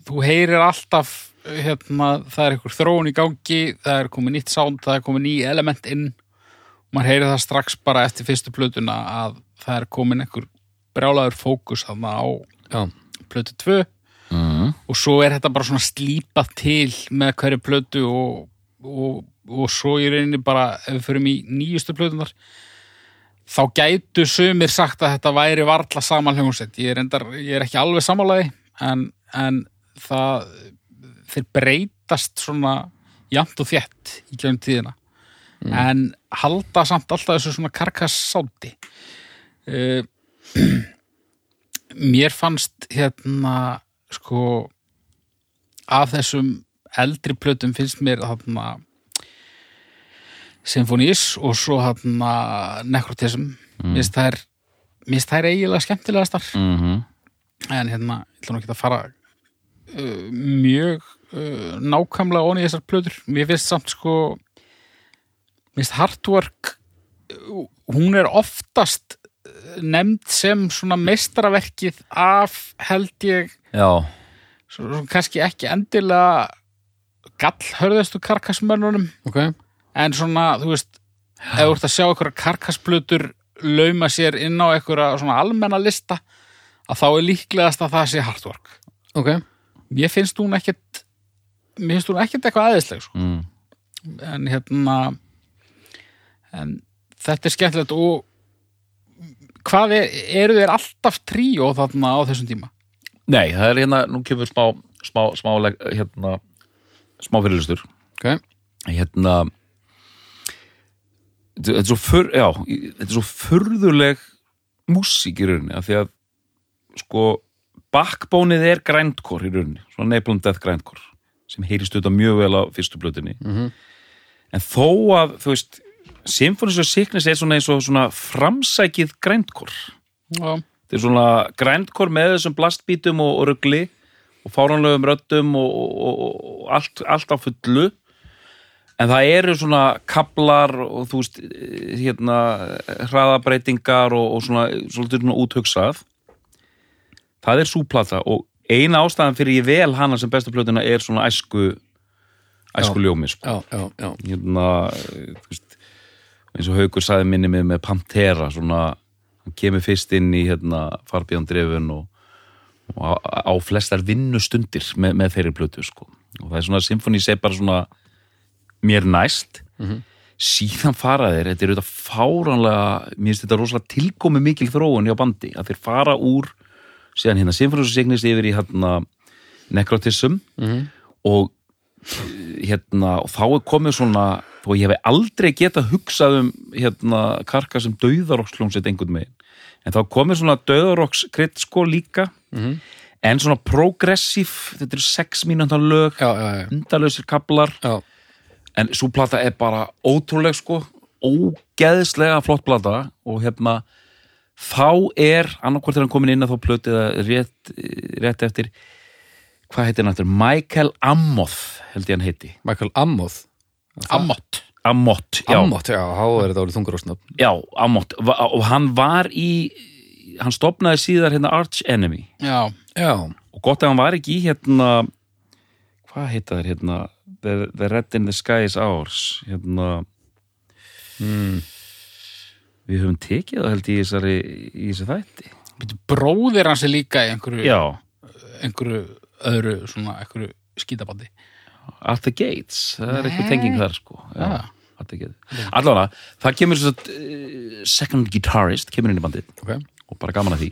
S3: þú heyrir alltaf hérna, það er einhver þróun í gangi það er komið nýtt sound, það er komið ný element inn maður heyrir það strax bara eftir fyrstu plötuna að það er komin einhver brjálaður fókus þarna á
S1: Já,
S3: plötu 2 og svo er þetta bara svona slípað til með hverju plötu og, og, og svo í rauninni bara ef við förum í nýjustu plötunar þá gætu sumir sagt að þetta væri varla saman hljómsveit ég er, endar, ég er ekki alveg samanlega en, en það þeir breytast svona jafnt og þétt í gegnum tíðina en halda samt alltaf þessu svona karkassáti uh, mér fannst hérna sko af þessum eldri plötum finnst mér þarna Symphonies og svo þarna Necrotism mm. minnst þær minnst þær eiginlega skemmtilegastar
S2: mm -hmm.
S3: en hérna, ég ætla nú ekki að fara uh, mjög uh, nákvæmlega onni þessar plötur mér finnst samt sko mér finnst Hardwork uh, hún er oftast uh, nefnd sem svona meistaraverkið af held ég
S2: Já,
S3: svona, svona kannski ekki endilega gallhörðustu karkasmörnunum
S1: ok
S3: en svona, þú veist ef þú ert að sjá einhverja karkasplutur lauma sér inn á einhverja svona almenna lista að þá er líklegast að það sé hardwork
S1: Ok,
S3: mér finnst hún ekkert mér finnst hún ekkert eitthvað aðeinsleg sko.
S2: mm.
S3: en hérna en þetta er skemmtilegt og hvað er, eru þeir alltaf tríó þarna á þessum tíma
S2: nei, það er hérna, nú kemur smá smá, smá, leg- hérna, smá fyrirlustur
S1: ok
S2: hérna þetta þetta er svo för, já, í- þetta er svo förðuleg músík í rauninni af því að sko backbónið er grændkor í rauninni svona nefnum death grændkor sem heyrist auðvitað mjög vel á fyrstu blötunni
S1: Mhm.
S2: en þó að þú veist Symphonies og Sickness er svona eins og svona framsækið grændkor
S3: já,
S2: þetta er svona grændkor með þessum blastbítum og, og rugli og fáránlegum röddum og, og, og, og allt, allt á fullu en það eru svona kablar og þú veist eh, hérna hraðabreitingar og, og svona, svolítið svona úthugsað það er súplata og eina ástæðan fyrir ég vel hana sem besta plötuna er svona æsku æsku ljómi sko.
S1: Já, já, já,
S2: hérna eh, þú veist, eins og Haukur saði minni mig með Pantera svona, hann kemur fyrst inn í hérna Farbjörn Drefun og, og á, á flestar vinnustundir með, með þeirri plötu sko. og það er svona symfóni seg bara svona mér næst
S1: Mhm.
S2: síðan fara þeir, þetta er auðvitað fáránlega mér finnst þetta rosalega tilkomi mikil þróun hjá bandi, að þeir fara úr síðan hérna symfóni og signist yfir í hérna
S1: Mhm.
S2: eh, nekrotism og hérna, og þá er komið svona þó ég hef aldrei getað hugsað um hérna, karka sem döðaroksljómsveit einhvern megin en þá komið svona döðarokskritt sko líka
S1: Mhm.
S2: en svona progressív þetta eru sex mínúnda lög
S1: já, já, já,
S2: undarlausir kaplar
S1: já.
S2: en svo plata er bara ótrúleg sko ógeðslega flott plata og hérna þá er, annarkvort er hann komin inn að þá plötið að rétt, rétt eftir hvað heitir hann aftur? Michael Ammoth held ég hann heiti
S1: Michael Ammoth
S3: Ammott
S2: Ammoth, já,
S1: Ammoth, já, há er þetta alveg þungarósnafn
S2: já Ammoth Va- og hann var í hann stopnaði síðar hérna Arch Enemy
S3: Já,
S1: Já,
S2: og gott að hann var ekki í hérna hvað heita þær hérna The, the Red in the Sky is Ours hérna við höfum tekið það held ég í þessari í þessu þætti
S3: Bíddu, bróðir hans er líka í einhverju,
S2: já,
S3: einhverju öðru svona einhverju skítabandi
S2: At the Gates það er eitthvað tenging þar sko já,
S3: Ah.
S2: At the Gates. allavega, það kemur svo, uh, second guitarist kemur inn í bandið
S1: ok
S2: og bara gaman að því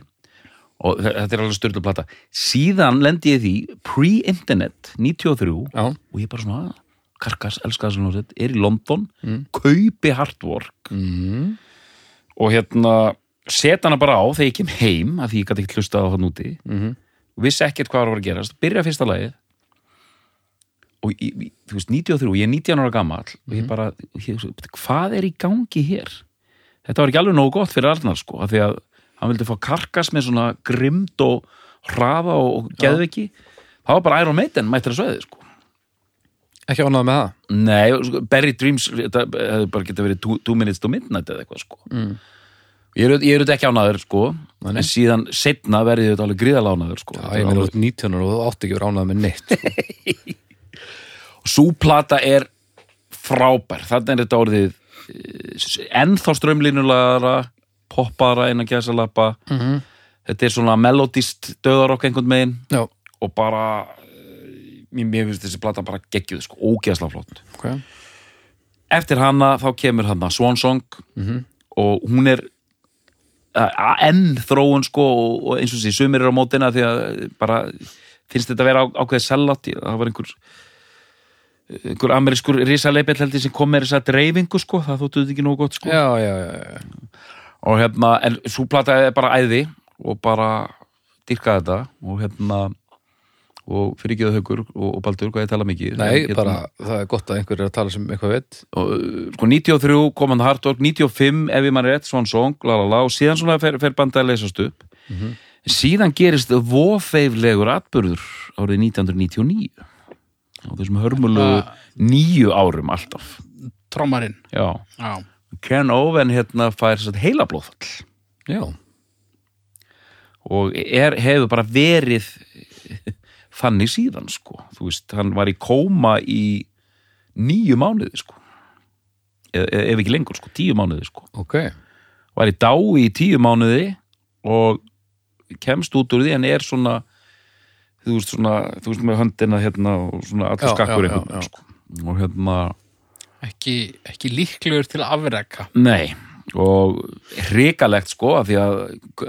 S2: og þe- þetta er alveg styrla plata síðan lendi ég í því pre-internet 93
S1: Já.
S2: og ég bara svona karkas, elska þessu hljómsveit, er í London kaupi hardwork mm. og hérna set hana bara á þegar ég kem heim af því ég gæti ekki hlustað á það núti mm. og vissi ekkert hvað var að vera að gerast byrja fyrsta lagið og ég, ég- þú veist, 93, ég er 19 ára gamall og ég bara, ég, hvað er í gangi hér? Þetta var ekki alveg nógu gott fyrir Arnar sko, af því að hann vildi fá karkas með svona grimd og hraða og geðveiki það var bara Iron Maiden mættir að sveði sko
S1: Ekki ánægð með það
S2: Nei, sko, Barry Dreams þetta hefði bara geta verið two, two minutes to midnight eða eitthvað sko mm. Ég er auð- ég er auðvitað ekki ánaður sko en síðan setna verði þetta alveg gríðalánaður sko
S1: Já, ég meina út 19 og þú átt ekki verið ánægð með neitt sko.
S2: Súplata er frábær þannig er þetta orðið eh, s- ennþá strömlínulegara poppara innan gæsalappa -hmm. þetta er svona melodist döðarokk einhvern megin
S1: Já,
S2: og bara eh, mér, mér finnst þessi plata bara geggjuð sko, ógeðslega flott
S1: ok
S2: eftir hana þá kemur hana Swansong
S1: Mhm.
S2: -hmm. og hún er eh, enn þróun sko og, og eins og þessi sumir eru á mótina því að eh, bara finnst þetta að vera á, ákveðið sellátt Ég- það var einhver einhver amerískur risaleipill heldur sem kom með þess að dreifingu sko, það þóttu þetta ekki nógu gott sko
S1: Já, já, já, já.
S2: og hérna, en svo plata er bara æði og bara dyrka þetta og hérna og fyrir ekki það haukur og, og Baldur hvað ég tala mikið En,
S1: Nei,
S2: hérna,
S1: bara, það er gott að einhver er að tala sem eitthvað veit
S2: og, uh, sko 93 kom hann Hardwork 95 ef ég mann rétt, Swan Song la, la, la, og síðan svona fer, fer bandið að leysast upp síðan gerist vofeiflegur atbyrður árið 1999 á þessum hörmulu nýju árum alltaf
S3: Trommarinn
S2: Já.
S3: Já,
S2: Ken Owen hérna fær heila blóðfall
S1: Já,
S2: og er, hefur bara verið þannig síðan sko þú veist, hann var í kóma í nýju mánuði sko e e- ef ekki lengur sko, tíu mánuði sko
S1: ok
S2: var í dái í tíu mánuði og kemst út úr því en er svona þú veist svona, þú veist með höndina hérna og
S1: Já,
S2: svona allur
S1: já,
S2: skakkur
S1: já,
S2: einhvern veginn,
S1: já.
S2: sko. og hérna,
S3: ekki, ekki líklegur til að afreka
S2: nei og hrikalegt sko af því að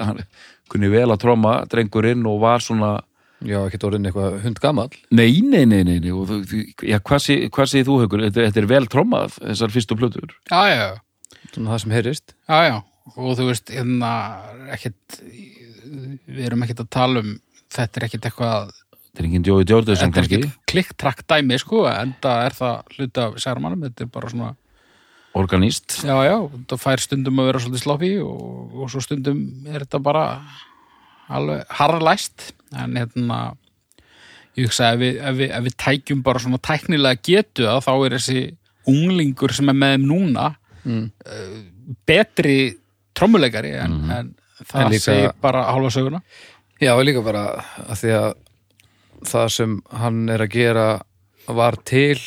S2: hann kunni vel að tróma drengurinn og var svona
S1: Já, ekki orðin eitthvað hundgamall
S2: Nei, nei, nei, nei, nei. og þú- þú- Já, hvað sé- hvað segir þú, Haukur? Þetta, þetta er vel trommað, þessar fyrstu plötur.
S3: Já, já, já
S1: Svona það sem heyrist
S3: Já, já, og þú veist, hérna, ekkert, við erum ekkert að tala um, þetta er ekkert eitthvað,
S2: Þetta er enginn Jói Djórdarsson
S3: þetta er
S2: kannski,
S3: ekkert klikktrakk dæmi, sko, en það er það hluti af særmanum, þetta er bara svona,
S2: organist.
S3: já, já, það fær stundum að vera svolítið sloppy og, og svo stundum er þetta bara alveg harðlæst, en hérna, ég hugsa, ef við, ef, við, ef við tækjum bara svona tæknilega getu að þá er þessi unglingur sem er með þeim núna mm. betri trommuleikari en, en það
S1: En líka-
S3: segir bara hálfa söguna
S1: Já, og líka bara að því að það sem hann er að gera var til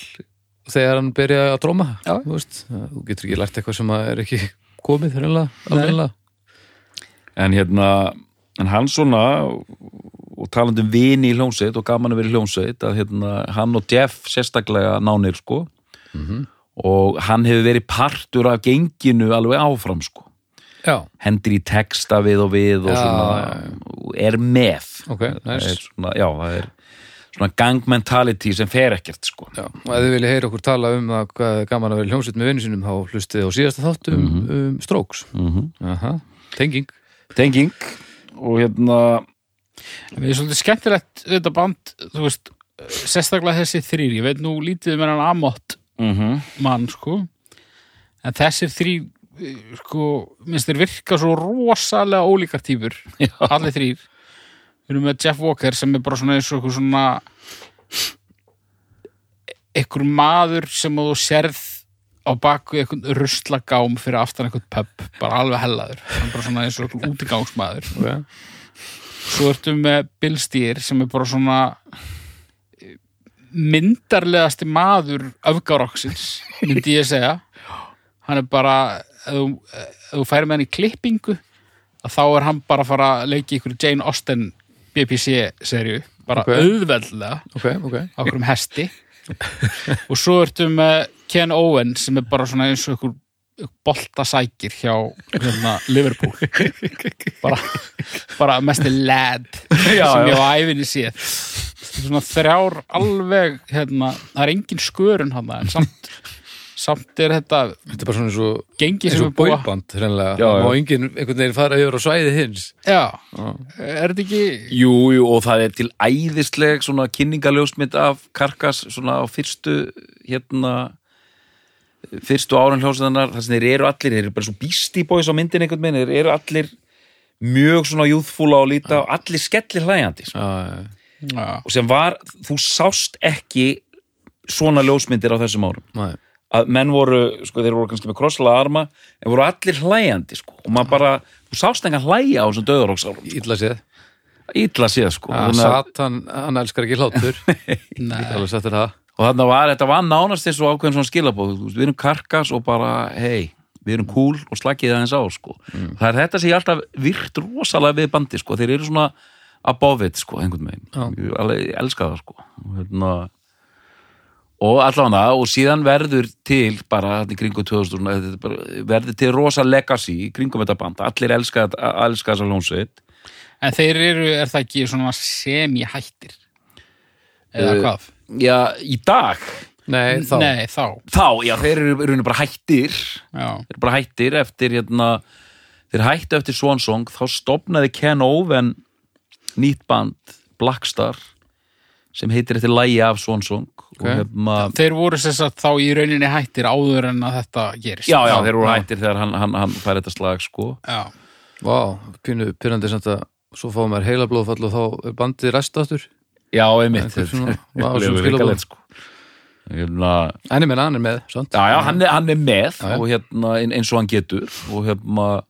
S1: þegar hann byrjaði að dróma
S3: Já.
S1: þú, veist, þú getur ekki lært eitthvað sem að er ekki komið hreinlega alveg
S2: En hérna, en hann svona, og- og talandi um vini í hljómsveit og gaman að vera í hljómsveit, að hérna, hann og Jeff sérstaklega nánir, sko.
S1: Mhm.
S2: Og hann hefur verið partur af genginu alveg áfram, sko.
S1: Já,
S2: Hendir í texta við og við og
S1: Já,
S2: svona, og er með.
S1: ok,
S2: Það er
S1: næs
S2: svona, já, það er svona gang mentality sem fer ekkert sko.
S1: Já, og ef þið viljið heyra okkur tala um það hvað er gaman að vera í hljómsveit með vinnu sínum þá hlustið á síðasta þáttum mm um Strokes Aha, tenging
S2: tenging og hérna
S3: Við erum svolítið skemmtilegt þetta band, þú veist, eh, sérstaklega þessi þrýr, ég veit nú lítið með hann Amott
S2: mm
S3: mann, sko, en þessir þrýr, eh, sko, minnst þeir virka svo rosalega ólíkar típur, allir þrýr. Við erum með Jeff Walker sem er bara svona eins og eitthvað svona einhver maður sem þú sérð á baku einhvern ruslagám fyrir aftan einhvern pöpp, bara alveg hellaður hann er bara svona eins og einhvern útigangsmaður
S1: Ok.
S3: svo ertu með Bill Steer sem er bara svona eh, myndarlegasti maður öfgaroksins myndi ég segja hann er bara ef þú, ef þú færi með hann í klippingu að þá er hann bara að fara að leiki ykkur Jane Austen BBC-serju bara
S1: Ok.
S3: okay. auðveldlega
S1: Ok, ok
S3: á okkurum hesti og svo ertu með Ken Owen sem er bara svona eins og ykkur boltasækir hjá hérna, Liverpool bara, bara mesti lad sem ég á æfinni séð svona þrjár alveg hérna, það er engin skörun hann en samt, samt er þetta
S1: Þetta er bara svona eins og
S3: gengi
S1: eins
S3: sem
S1: og
S3: er búið að-
S1: bóiband hreinlega
S2: Já, já.
S1: og enginn einhvern veginn fara yfir á svæði hins
S3: Já, er þetta ekki
S2: jú, jú, og það er til æðisleg svona kynningaljósmynd af Karkas svona á fyrstu hérna fyrstu árun hljósaðanar þar sem þeir eru allir, þeir eru bara svo beastie boys á myndin einhvern veginn, þeir eru allir mjög svona júðfúla og líta og allir skellir hlæjandi sko.
S1: Já, já, já.
S3: Já,
S2: og sem var, þú sást ekki svona ljósmyndir á þessum árum
S1: Nei.
S2: að menn voru, sko, þeir voru kannski með krosslaða arma, en voru allir hlæjandi sko, og maður bara, þú sást engan hlæja á þessum döðuróksárum,
S1: Ítla séð
S2: ítla séð sko
S1: Ah,
S2: Þannig að,
S1: Satan, hann elskar ekki hlátur
S3: nei,
S1: Alveg sættir það
S2: og þannig var, þetta var nánast eins og ákveðin svona skilabóð, þú veist, við erum karkas og bara, hei, við erum cool og slakið aðeins á, sko, það er þetta sem ég alltaf virt rosalega við bandi, sko þeir eru svona above it, sko einhvern veginn, ég alveg elska það, sko og hérna og allan það, og síðan verður til bara þetta í kringum 2000 svona, þetta er bara, verður til rosa legacy í kringum þetta band, allir elska, þetta- elska þessa lónsveit
S3: en þeir eru, er það ekki svona semi-hættir eða hvað?
S2: já, í dag,
S1: Nei, Eh, þá
S3: Nei, þá
S2: þá, já, þeir eru í rauninni bara hættir
S3: Já,
S2: þeir bara hættir eftir hérna, þeir hættu eftir Swansong þá stopnaði Ken Owen nýtt band, Blackstar sem heitir eftir lægi af Swansong og hérna
S3: þeir voru sem sagt þá í rauninni hættir áður en að þetta gerist
S2: já, já, þeir voru hættir þegar hann, hann, hann fær þetta slag sko
S3: Já,
S1: Vá, pínu pyrrandi samt að svo fá maður heila blóðfall og þá er bandið restaftur
S2: já, einmitt
S1: Einhver svona-
S2: Þetta
S1: var svona
S2: er
S1: skilaboð.
S2: sko. hérna,
S1: En ég menn hann er með, sant?
S2: já, já, hann er, hann er með
S1: já.
S2: og hérna ein- eins og hann getur og hérna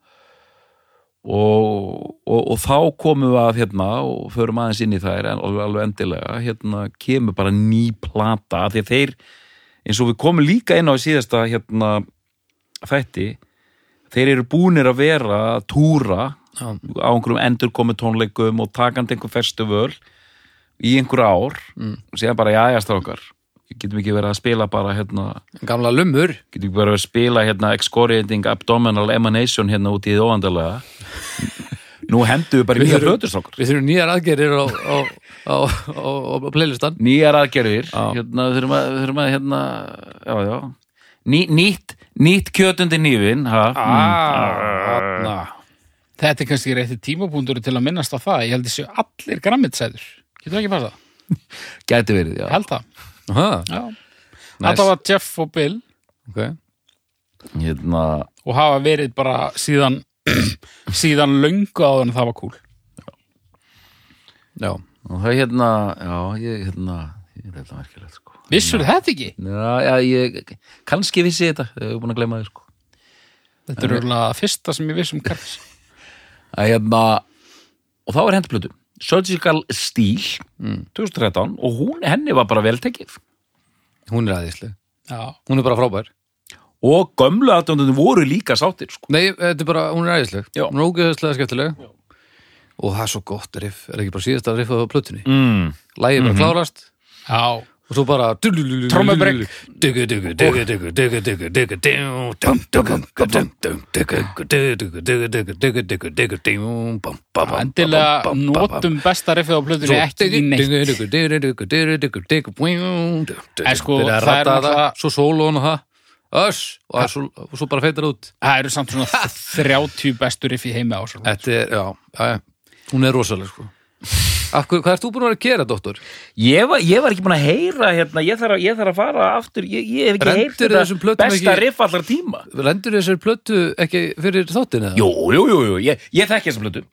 S2: og, og, og þá komum við að hérna og förum aðeins inn í þær en alveg, alveg endilega, hérna kemur bara ný plata, af því að þeir eins og við komum líka inn á í síðasta hérna þætti þeir eru búnir að vera að túra
S1: Já.
S2: á einhverjum endurkomi tónleikum og takandi einhver festival í einhver ár mm. og séðan bara jæja strákar við getum ekki verið að spila bara hérna
S1: Gamla lumur
S2: getum ekki bara að spila hérna excoriating abdominal emanation hérna út í þið óvandarlega nú hendur við bara í
S1: Við
S2: nýja
S1: þurfum-
S2: plötustrákar
S1: Við þurfum nýjar aðgerir á, á, á, á, á playlistan
S2: nýjar aðgerðir hérna, við þurfum að, við þurfum að hérna, já, já. Ný, nýtt, nýtt kjötundi nýfin ha? Ah.
S1: Na,
S3: þetta er kannski rétti tímabúndur til að minnast á það, ég held þessu allir grammitsæður, getur ekki passa það?
S2: Mm. gæti verið, já
S3: Ég held það,
S1: Aha,
S3: já Þetta var Jeff og Bill
S1: ok
S2: hérna,
S3: og hafa verið bara síðan síðan löngu áður en það var cool
S1: Já,
S2: og það er hérna já, ég hérna ég er þetta merkilegt sko
S3: Vissur þetta ekki?
S2: Já, já, ég, kannski vissi ég þetta, ég hef búin að gleyma þér sko.
S3: Þetta
S2: Mm.
S3: er örugglega það fyrsta sem ég viss um Karls
S2: Að Hérna, og þá er hendplötu, Surgical Steel, 2013, og hún, henni var bara veltekið.
S1: hún er aðeinsleg
S3: Já,
S1: Hún er bara frábær
S2: Og gömlu aðdöndunum voru líka sáttir, sko.
S1: Nei, þetta er bara, hún er aðeinsleg
S2: Já.
S1: Hún er ógeðslega skemmtileg Og það er svo gott riff, er ekki bara síðasta riff á plötunni
S2: Mm.
S1: Lægið bara klárast
S3: já,
S1: og og svo bara
S3: Trommubrek. Endilega
S1: Endilega
S3: notum besta riffið á plötunni ekki í neitt.
S1: En
S3: En sko, það er náttúrulega-
S1: Svo sólón og það Öss, og, það er svo, og svo bara feitar út
S3: Það eru samt svona 30 bestu riff í heimi á svo.
S1: Þetta er, já, já, já, hún er rosaleg sko Af hverju, hvað ert þú búin að vera að gera, dóttur?
S2: Ég var, ég var ekki búin að heyra hérna, ég þarf að, ég þarf að fara aftur, ég, ég hef ekki
S1: Rendir
S2: heyrt þetta
S1: þessum plötum
S2: besta
S1: ekki-
S2: riff allar tíma.
S1: Lendur þessari plötu ekki fyrir þáttina?
S2: Jú, jú, jú, jú, ég, ég þekki þessum plötu.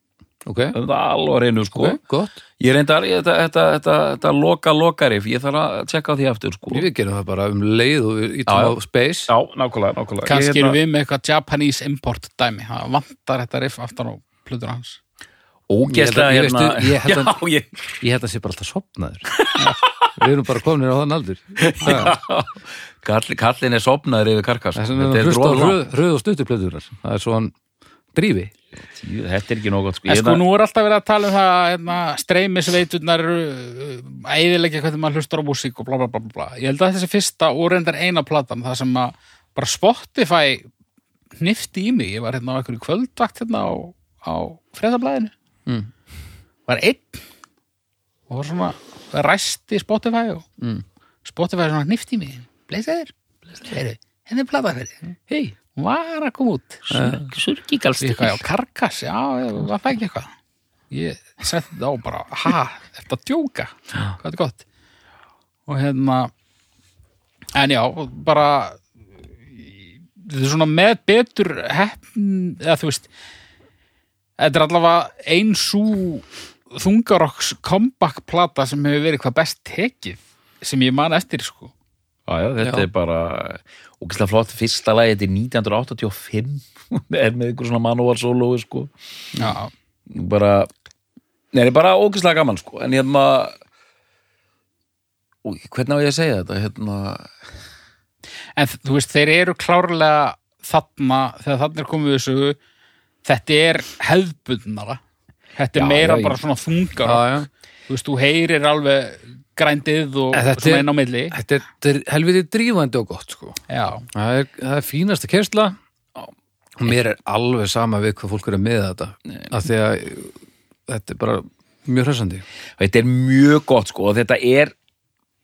S1: Ok,
S2: Það er alveg að reynu, sko.
S1: ok, gott
S2: Ég reyndar, ég, þetta, þetta, þetta, þetta loka, loka riff, ég þarf að tjekka á því aftur, sko.
S1: Við gerum það bara um leið og við ítum á
S2: Já,
S1: space
S2: Já, nákvæmlega, nákvæmlega. Ég
S3: Kanski
S2: hérna-
S3: eru við með eitthvað Japanese import dæmi. Það vantar þetta riff aftan á plötunum hans.
S1: Ég
S2: Ógeðslega,
S1: held
S2: hérna.
S1: að- ég veistu, ég held að-
S2: Já, ég,
S1: Ég held að sé bara alltaf sopnaður Við erum bara komin á þann aldur Það
S2: Kall, kallin er sopnaður yfir karkas
S1: er sem við hlusta á röð, röð og stuttuplötunar Það er svo hann drífi
S2: Jú, Þetta er ekki nóg gott sko.
S3: En
S2: Ég
S3: sko,
S2: hefna-
S3: nú er alltaf verið að tala um það hérna, streymisveiturnar æðilegja hvernig maður hlustar á músík og bla bla bla bla bla. Ég held að þessi fyrsta og reyndar eina platan, það sem að bara Spotify hnifti í mig. Ég var hérna á einhverju kvöldvakt hérna á, á freðablaðinu.
S1: Mm.
S3: Var einn og var svona ræsti Spotify og
S1: Mm.
S3: Spotify svona hnifti í mig. Blessaður, blessaður, henni er platan fyrir.
S1: Hei
S3: Hún var að koma út.
S2: Surkigalstur
S3: eitthvað, já, karkas, já, var það ekki eitthvað ég setti þetta á bara ha, þetta djóka hvað þetta er gott og hérna en já, bara þetta er svona með betur heppn, eða þú veist þetta er allavega ein svo þungarokks comeback plata sem hefur verið hvað best tekið sem ég man eftir sko
S2: Já, já, þetta
S1: Já.
S2: er bara ógeðslega flott fyrsta lagi, þetta er 1985 er með ykkur svona manuval solo sko.
S3: já,
S2: bara Nei, það er bara ógeðslega gaman sko. en hérna Új, hvernig á ég að segja þetta hérna,
S3: En þ- þú veist, þeir eru klárlega þarna, þegar þarna er komið við sögu, þetta er hefðbundnara. Þetta er
S2: Já,
S3: meira
S2: já, ég-
S3: bara svona þungar.
S1: Já, já.
S3: Þú veist, þú heyrir alveg grændið og
S1: En þetta
S3: svona
S1: er-
S3: inn á milli.
S1: Þetta er, þetta er helviti drífandi og gott sko
S3: Já,
S1: Það er, það er fínasta kersla og mér er alveg sama við hvað fólk er með þetta af því að þetta er bara mjög hressandi
S2: þetta er mjög gott sko, og þetta er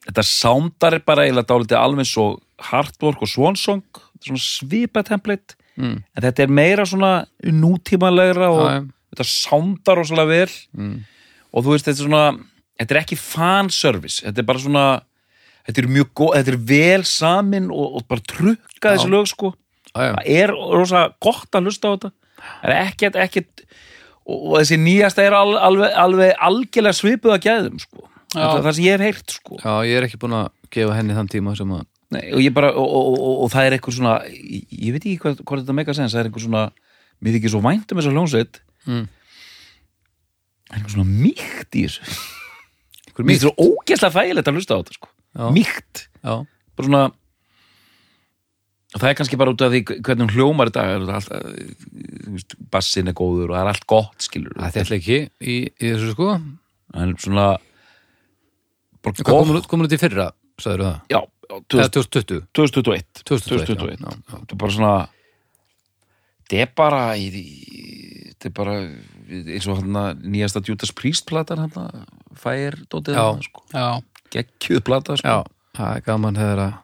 S2: þetta sándar er bara eiginlega dálítið alveg svo hardwork og svonsong svona svipa template
S1: Mm.
S2: en þetta er meira svona nútímalegra og
S1: Já, já.
S2: þetta sándar rosalega vel
S1: Mm.
S2: og þú veist þetta er svona þetta er ekki fanservice, þetta er bara svona þetta er mjög góð, þetta er vel samin og, og bara trukka þessi lög sko
S1: Æja,
S2: það er rosa gott að hlusta á þetta það er ekkert, ekkert og, og þessi nýjasta er al, alveg, alveg algjörlega svipuð að gæðum sko. þetta er það sem ég hef heyrt sko.
S1: já, ég er ekki búin að gefa henni þann tíma sem að
S2: Nei, og, ég bara, og, og, og, og það er eitthvað svona ég, ég veit ekki hvað, hvað þetta meika sens það er eitthvað svona, mér þykir svo vænt um þessa hljónsveit
S1: Mm.
S2: það er eitthvað svona mýkt í þessu mér finnst svo ógeðslega þægilegt að hlusta á þetta sko.
S1: Já.
S2: mýkt
S1: Já,
S2: bara svona það er kannski bara út af því hvernig hún hljómar þetta er þetta alltaf, þú veist, bassin er góður og það er allt gott skilur
S1: það er ekki í, í þessu sko
S2: það er svona bara
S1: Hvað komin
S2: gott
S1: út, komin út í fyrra, sagðirðu það?
S2: já, já, 2000
S1: Eða 2020
S2: 2021
S1: 2021,
S2: 2021.
S1: já, já,
S2: þetta er bara svona þetta er bara í- í- þetta er bara eins og hann nýjasta Judas Priest platan hann fær dótið
S1: Já.
S2: þarna, sko.
S3: já,
S2: geggjuð plata sko.
S1: Já, það er gaman þegar að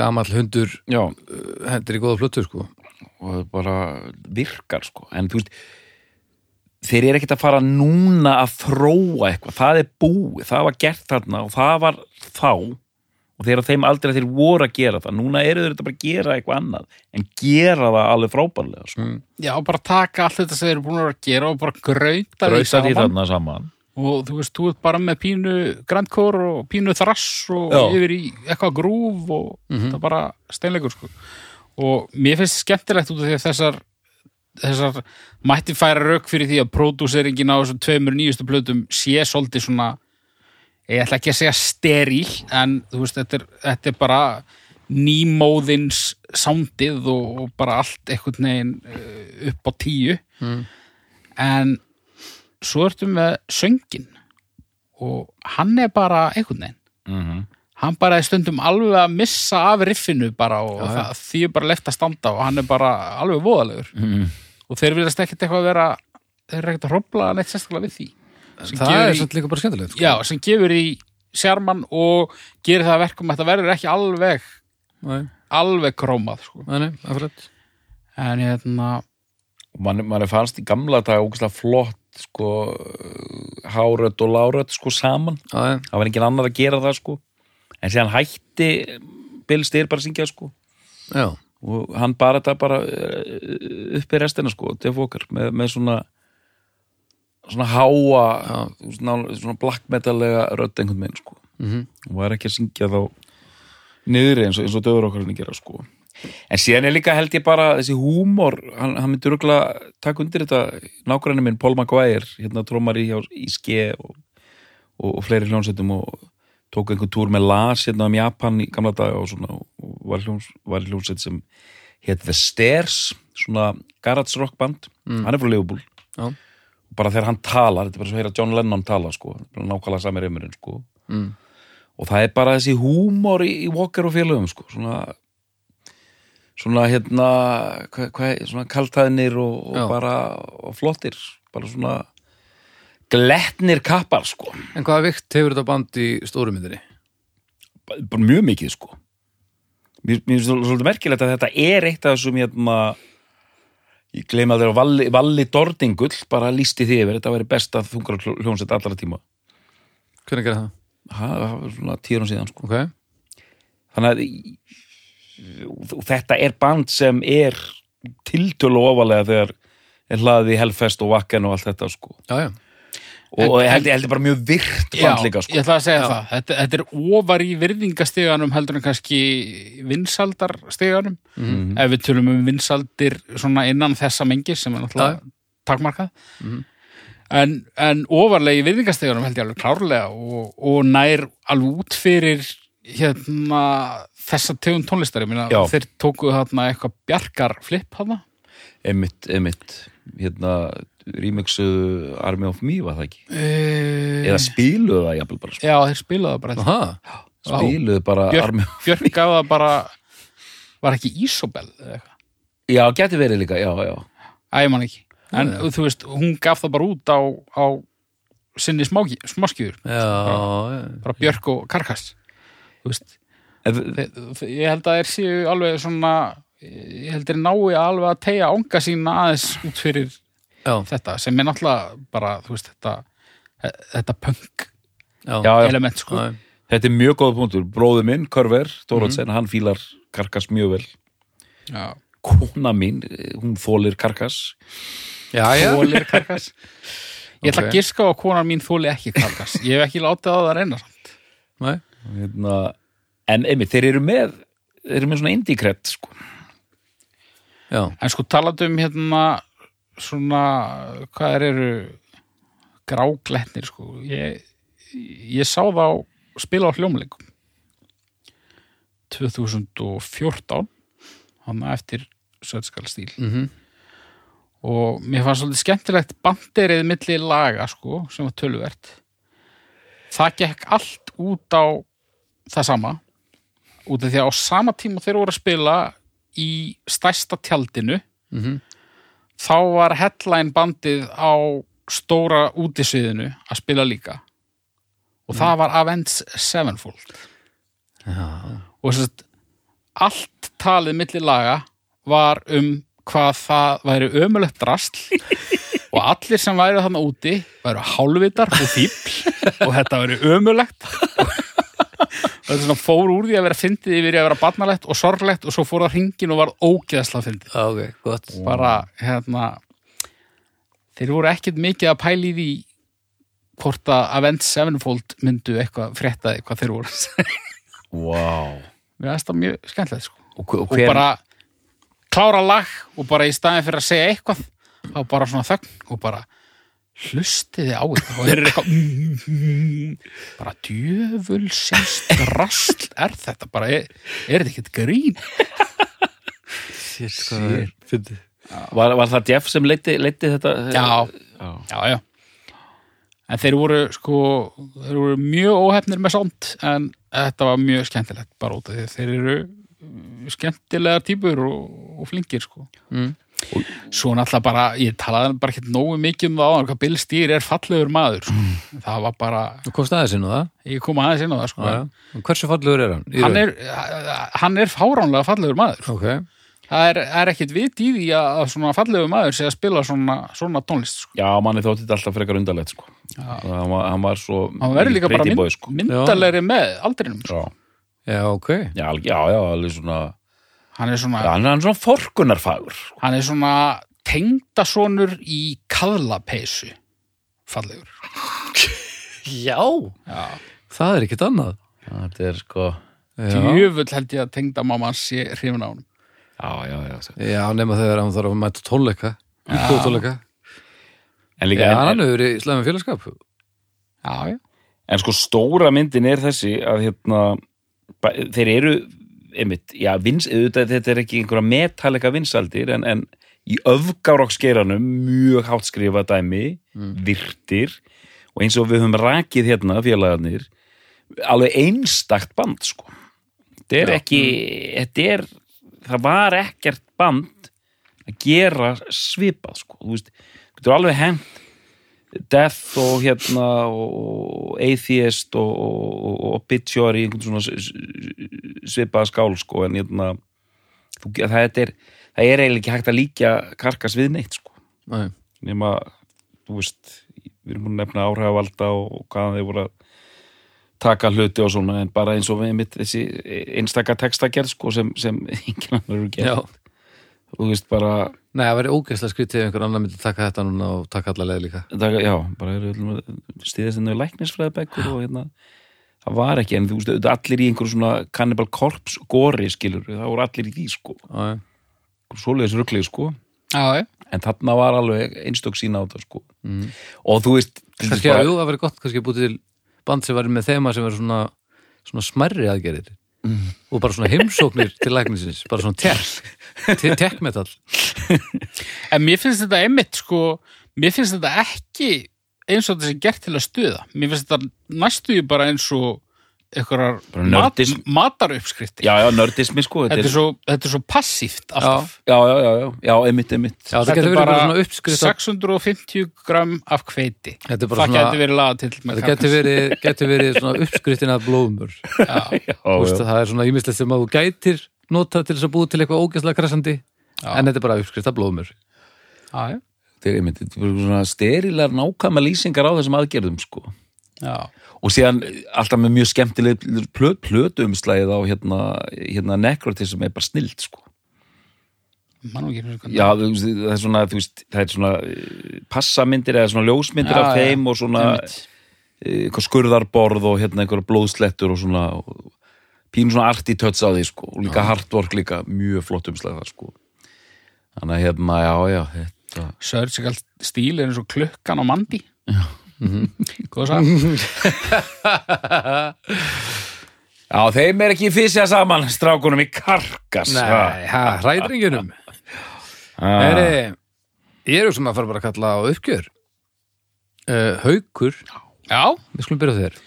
S1: gamall hundur
S2: Já.
S1: uh, hendur í góða plötu sko
S2: og það bara virkar sko. en þú veist þeir eru ekkert að fara núna að þróa eitthvað, það er búið, það var gert þarna og það var þá og þeir eru á þeim aldrei að þeir voru að gera það núna eru þeir þetta bara að gera eitthvað annað en gera það alveg frábærlega sko.
S3: já, bara taka allt þetta sem þeir eru búin að vera að gera og bara grauta því
S2: brauta því
S3: saman.
S2: þarna saman
S3: Og þú veist, þú ert bara með pínu grandkór og pínu þrass og
S2: Já.
S3: yfir í eitthvað grúf og þetta er bara steinleikur sko. Og mér finnst skemmtilegt út af því að þessar þessar mætti færa rauk fyrir því að pródúseringin á þessum tveimur nýjustu plötum sé svolítið svona ég ætla ekki að segja steríl en þú veist, þetta er, þetta er bara nýmóðins sándið og, og bara allt einhvern veginn eh, upp á tíu en svo ertu með söngin og hann er bara einhvern veginn
S2: Mhm.
S3: hann bara er stundum alveg að missa af riffinu bara og það, því er bara left að standa og hann er bara alveg voðalegur og þeir viljast ekkert eitthvað vera þeir eru ekkert að hrópla neitt sérstaklega við því sem
S1: það
S3: gefur
S1: er
S3: í-
S1: samt líka bara skemmtilegt sko.
S3: já, sem gefur í sjarman og gerir það að verkum að þetta verður ekki alveg
S1: Nei,
S3: alveg krómað sko.
S1: nei, nei, akkurat.
S3: en hérna,
S2: og mann, mann fannst í gamla dag ógæslega flott sko uh, hárödd og lárödd sko saman
S1: Já, já.
S2: það var engin annar að gera það sko en síðan hætti Bill Styr bara að syngja sko
S1: já,
S2: og hann bara þetta bara uh, uppi restina sko, Def Walker með, með svona svona háa svona, svona black metalega rödd einhvern veginn sko
S1: Mhm.
S2: og var ekki að syngja þá niður eins og, eins og döfur okkar hann gera sko en síðan er líka held ég bara þessi húmor, hann, hann myndi rugla taka undir þetta, nágræni minn Paul Maguire, hérna trómari hjá í ske og, og, og fleiri hljónsettum og tók einhvern túr með Lars hérna um Japan í gamla daga og svona og var, hljóns, var hljónsett sem hétt The Stairs, svona garage rock band,
S1: Mm.
S2: hann er frá Liverpool
S1: Já.
S2: og bara þegar hann talar þetta er bara svo að heyra John Lennon tala sko bara nákvæmlega sami reymurinn sko
S1: Mm.
S2: og það er bara þessi húmor í, í Walker og félögum sko svona svona hérna hva, hva, svona kaltæðnir og,
S1: Já.
S2: og bara og flottir, bara svona glettnir kappar sko
S1: En hvaða vikt hefur þetta band í stóru myndinni?
S2: bara bara mjög mikið sko mér mér finnst það svolítið merkilegt að þetta er eitt af þessum hérna ég gleyma þér að Valli, Valli Dordingull bara lísti því yfir, þetta væri besta þungar hljónsett allra tíma
S1: Hvernig gerir það?
S2: Ha- það var svona tíðan síðan sko
S1: Ok,
S2: þannig að í- og þetta er band sem er tiltölu ofalega þegar er hlaðið í Hellfest og Wacken og allt þetta sko
S1: já, já,
S2: og og ég held, ég held ég bara mjög virt
S3: já,
S2: band líka sko
S3: ég ætla að segja það þetta, þetta er ofar í virðingasteganum heldur en kannski vinsaldarsteganum ef við tölum um vinsaldir svona innan þessa mengi sem er náttúrulega takmarkað en, en ofarlega í virðingastegunum held ég alveg klárlega og, og nær alveg út fyrir hérna þessa tegund tónlistar, ég meina
S2: Já.
S3: þeir tóku þarna eitthvað bjarkarflipp þarna
S2: einmitt, einmitt hérna remixuðu Army of Me var það ekki
S3: e...
S2: eða spiluðu það jafnvel bara sko.
S3: Já, þeir spilaðu bara þetta.
S1: aha,
S2: spiluðu bara Army
S3: Björk,
S2: of
S3: Björk gaf það bara var ekki Ísobel eða eitthvað
S2: Já, geti verið líka, já, já
S3: Æ, ég man ekki. En þú veist, hún gaf það bara út á, á sinni smáki, smáskjur,
S1: já, já.
S3: bara Björk og Karkas. Þú veist,
S2: En-
S3: þe- þe- ég held að þeir séu alveg svona, ég held þeir nái alveg að tegja ánga sína aðeins út fyrir
S1: Já.
S3: þetta, sem er náttúrulega bara, þú veist, þetta, e-, þetta punk
S2: Já, já,
S3: element, sko.
S1: Já,
S2: þetta er mjög góða punktur Bróður minn, Körver, Dóratsen,
S3: Mhm.
S2: hann fílar karkas mjög vel
S3: Já.
S2: Kona mín, eh, hún þólir karkas
S1: já, já.
S3: Þólir Karkas. Ég
S1: Ok.
S3: ætla að giska á að konan mín þóli ekki Karkas. Ég hef ekki látið á það að reyna samt.
S1: Nei.
S2: hérna, en einmitt, þeir eru með þeir eru með svona indie-kredd sko.
S1: já,
S3: En sko talandi um hérna svona, hvað er eru grágletnir sko ég, ég sá þá spila á hljómleikum 2014 hann eftir Sötskal stíl
S1: mhm,
S3: og mér fannst svolítið skemmtilegt banderið milli laga sko sem var töluvert það gekk allt út á það sama út af því að á sama tíma og þeir voru að spila í stærsta tjaldinu
S1: mhm,
S3: þá var headline bandið á stóra útisviðinu að spila líka og
S1: Mhm.
S3: það var Avents Sevenfold
S1: já,
S3: og þess að allt talið milli laga var um hvað það væri ömulegt drasl og allir sem væri þannig úti væri hálfvitar og fíbl og þetta væri ömulegt og þetta svona fór úr því að vera fyndið yfir í að vera barnalegt og sorglegt og svo fór það hringin og var ógeðsla fyndið
S1: Já, ok, gott.
S3: bara hérna þeir voru ekkert mikið að pæli því hvort að Avent Sevenfold myndu eitthvað fréttaði hvað þeir voru að segja.
S2: wow.
S3: mér finnst það mjög skemmtilegt sko.
S2: og, hver- og
S3: og
S2: hver,
S3: bara klára lag og bara í staðin fyrir að segja eitthvað þá bara svona þögn og bara hlustiði á þetta og er eitthvað bara djöfulsins drast er þetta bara, er, er þetta ekkert grín
S1: Sér, hvað er fyndið.
S2: var, var það Jeff sem leiti, leiti þetta
S3: já, já, já en þeir voru sko þeir voru mjög óhefnir með sond en þetta var mjög skemmtilegt bara út af því að þeir eru mm, skemmtilegar típur og, og flingir sko
S1: Mm.
S3: svo náttúrulega bara, ég talaði bara ekki nógu mikið um það áðan hvað Bill Stýr er fallegur maður sko.
S1: Mm.
S3: það var bara,
S1: Þú komst aðeins inn á það
S3: ég kom aðeins inn á það sko
S1: já, já. En Hversu fallegur er hann? Í
S3: hann
S1: raun?
S3: er, hann er fáránlega fallegur maður
S1: Ok,
S3: það er, það er ekkit vit í því að að svona fallegur maður sé að spila svona, svona tónlist sko.
S2: Já, manni þótti þetta alltaf frekar undarlegt sko. Og hann, var, hann var svo
S3: hann verður líka bara
S2: pretty boy,
S3: mynd,
S2: sko.
S3: myndalegri með aldrinum sko.
S2: já,
S1: já, ok
S2: já, alg- já, já, alveg svona
S3: hann er svona,
S2: já, hann er hann svona forkunarfagur sko.
S3: hann er svona tengdasonur í kaðlapeysu fallegur
S1: Já, það er ekkert annað
S2: Já, Þetta er sko
S1: Já,
S3: djöfull held ég að tengdamamma sé hrifin á hann
S2: Já, já, já sko.
S1: já nema þegar hann þarf að mæta tónleika Íbúðtónleika
S2: En líka
S1: Já,
S2: Eh, en,
S1: hann hefur verið í slæmum félagskap
S3: já, já,
S2: En sko stóra myndin er þessi að hérna, ba- þeir eru einmitt, já, vins, auðvitað, þetta er ekki einhverja metalega vinsaldir en, en í öfgarokksgeiranum mjög hátt skrifa dæmi virtir og eins og við höfum rakið hérna félagarnir alveg einstakt band sko þetta er ekki, þetta er það var ekkert band að gera svipað sko, þú veist, þú getur alveg hent Death og hérna og Atheist og, og, og Obituary einhvern svona s- s- svipaða skál sko en hérna þú, það, þetta er, það er eiginlega ekki hægt að líkja karkas við neitt sko
S1: Nei,
S2: nema, þú veist við erum búin að nefna áhrifavalda og, og hvaðan þeir voru að taka hluti og svona en bara eins og við mitt þessi e, einstaka textagerð sko sem, sem enginn annar eru
S1: já
S2: gerð þú veist bara,
S1: Nei, það verið ógeðslega skrítið ef einhver annar myndi taka þetta núna og taka alla leið líka
S2: það, já, bara eru öllum stíðast ennur læknisfræðabækur og hérna það var ekki, en þú veist, auðvitað allir í einhverju svona Cannibal Corpse góri skilur það voru allir í því sko,
S1: Já, já.
S2: svoleiðis ruglið sko
S3: já, já.
S2: en þarna var alveg einstök sína á þetta sko og þú veist til dæmis
S1: Kannski,
S2: bara-
S1: að, jú, það verið gott kannski að búti til band sem verið með þema sem verið svona, svona smærri aðgerðir og bara svona heimsóknir til læknisins bara svona tech tech-metal
S3: en mér finnst þetta einmitt sko, mér finnst þetta ekki eins og þetta sé gert til að stuða mér finnst þetta næstu ég bara eins og einhverjar
S2: Bara
S3: mat,
S2: nördism.
S3: matarauppskrifti
S2: já, já, nördismi sko
S3: þetta, er svo, þetta er svo passíft alltaf
S2: já, já, já, já, já, einmitt, einmitt
S1: Já, þetta getur verið bara svona uppskrift af-
S3: 650 gram af hveiti
S1: Þetta er bara
S3: það
S1: svona-
S3: getur verið laga til með
S1: þetta getur verið, getur verið svona uppskriftin að blóðumur
S3: kakó. Já.
S2: já,
S1: Vist,
S2: já.
S1: það er svona ímislegt sem að þú gætir nota til þess að búi til eitthvað ógeðslega krassandi en þetta er bara uppskrift að blóðumur
S3: Já, já.
S2: þetta er einmitt þetta er svona sterilar nákvæma lýsingar á þessum aðgerðum sko
S3: Já.
S2: og síðan alltaf með mjög skemmtileg plöt, plötumslæðið á hérna, hérna nekrotism er bara snilt sko
S3: Man nú ekki fyrir hvernig.
S2: já, þú veist, það er svona, þú veist, það er svona eh, passamyndir eða svona ljósmyndir
S3: Já,
S2: af
S3: já.
S2: þeim og svona
S3: Einmitt.
S2: eh, eitthvað skurðarborð og hérna einhverja blóðslettur og svona og pínu svona arti tötts á því sko og líka hardwork líka, mjög flott umslæð það sko þannig að hérna, já, já, þetta
S3: Surgical stíl er eins og klukkan á mandi Góð sá
S2: Já, þeim er ekki fysja saman strákunum í karkas
S1: Nei, ha, hræðringunum
S2: það
S1: Heri, Ég er sem að fara bara að kalla á uppgjör uh, Haukur
S3: Já,
S1: Við skulum byrja á þér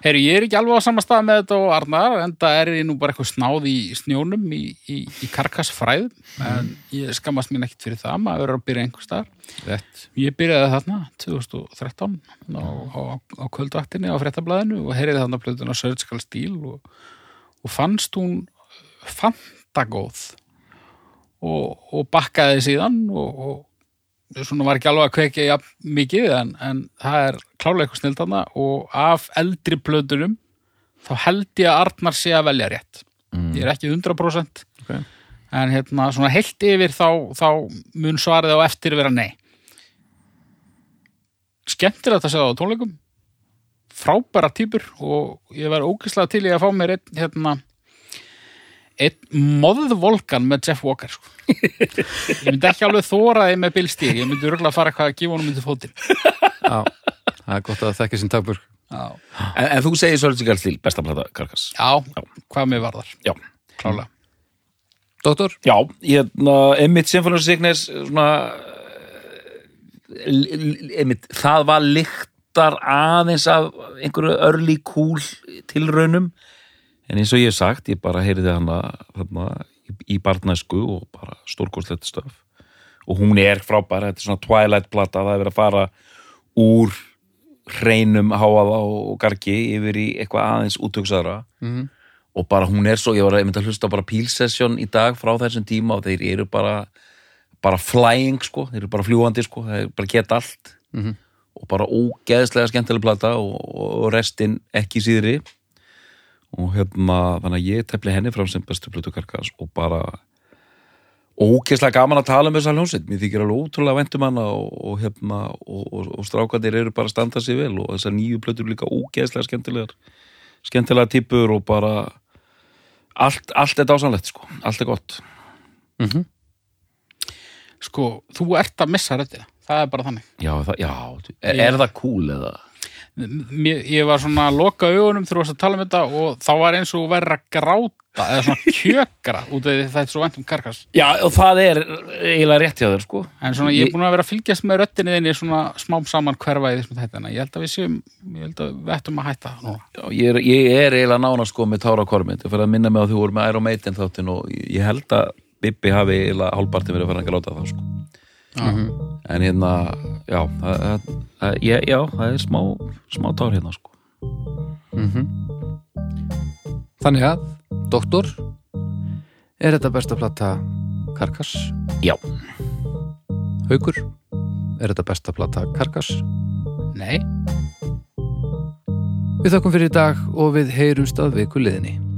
S3: heyri, ég er ekki alveg á sama stað með þetta og Arnar en það er ég nú bara eitthvað snáð í snjónum í, í, í karkasfræðum en ég skammast mín ekkit fyrir það maður er að byrja einhvers staðar
S1: Rétt
S3: Ég byrjaði þarna 2013 á, á, á kvöldvaktinni á fréttablaðinu og heyriði þarna plötuna Surgical Steel og, og fannst hún fantagóð og, og bakkaði síðan og, og svona var ekki alveg að kveikja jafn mikið en, en það er klálega eitthvað snild þarna og af eldri plötunum þá held ég að Arnar sé að velja rétt ég er ekki 100%
S1: Ok.
S3: en hérna svona heilt yfir þá, þá mun svarið á eftir vera nei skemmtilegt að sjá það á tónleikum frábæra týpur og ég var ógeðslega til í að fá mér einn hérna einn moðvolkan með Jeff Walker sko. ég myndi ekki alveg þóraði með Bill Steer, ég myndi röglega fara eitthvað að gefa honum myndi fótinn
S1: Já, það er gott að þekki sinn takbörg
S3: já.
S2: En, en þú segir Surgical Steel, besta plata karkas
S3: já, hvað mér varðar,
S2: Já,
S3: klálega
S1: Dóttor,
S2: já hérna, Emmitt Symphony of Sickness svona eh, l- l- Emmitt, það var líkt staðar aðeins af einhverju örli kúl tilraunum en eins og ég hef sagt, ég bara heyrði hana þarna í- í barnæsku og bara stórkostlegt stöf og hún er frábær, þetta er svona Twilight plata, það er verið að fara úr hreinum háaða og gargi yfir í eitthvað aðeins útöksaðra -hmm. og bara hún er svo, ég var einmitt að hlusta á bara pílsessjón í dag frá þessum tíma og þeir eru bara bara flying sko, þeir eru bara fljúandi sko, þeir bara geta allt -hmm. og bara ógeðslega skemmtileg plata og, og restin ekki síðri og hérna, þannig að ég tefli henni fram sem bestu plötu karkas og bara ógeðslega gaman að tala um þessa hljómsveit mér þykir alveg ótrúlega vendum hana og, og, hefna, og, og, og strákandir eru bara að standa sér vel og þessar nýju plötur líka ógeðslega skemmtilegar skemmtilega tippur og bara allt, allt er dásanlegt sko, allt er gott
S3: sko, þú ert að missa röddina það er bara þannig
S2: já, það, já, er, er það cool eða
S3: Mér, ég var svona að loka augunum þegar þú varst að tala um þetta og þá var eins og verið að gráta eða svona kjökra út af því það er svo vænt um karkas
S2: já, og það er eiginlega rétt hjá þér sko
S3: en svona ég
S2: Ég-
S3: er búin að vera að fylgjast með röddinni þinni svona smám saman hverfa í þessum þættina ég held að við séum, ég held að við ættum að hætta núna
S2: Já, ég, er, ég er eiginlega nána sko með tára kormið ég fyrir að minna mig á því voru með Iron Maiden þáttin og ég ég held að Bibbi hafi eiginlega hálfpartin verið að fara að gráta þá sko en hérna, já það, það, það, ég, já, það er smá smá tár hérna sko
S1: Mhm. Þannig að, doktor, er þetta besta plata Karkas?
S2: Já.
S1: Haukur, er þetta besta plata Karkas?
S3: nei
S1: Við þakkum fyrir í dag og við heyrumst að viku liðinni.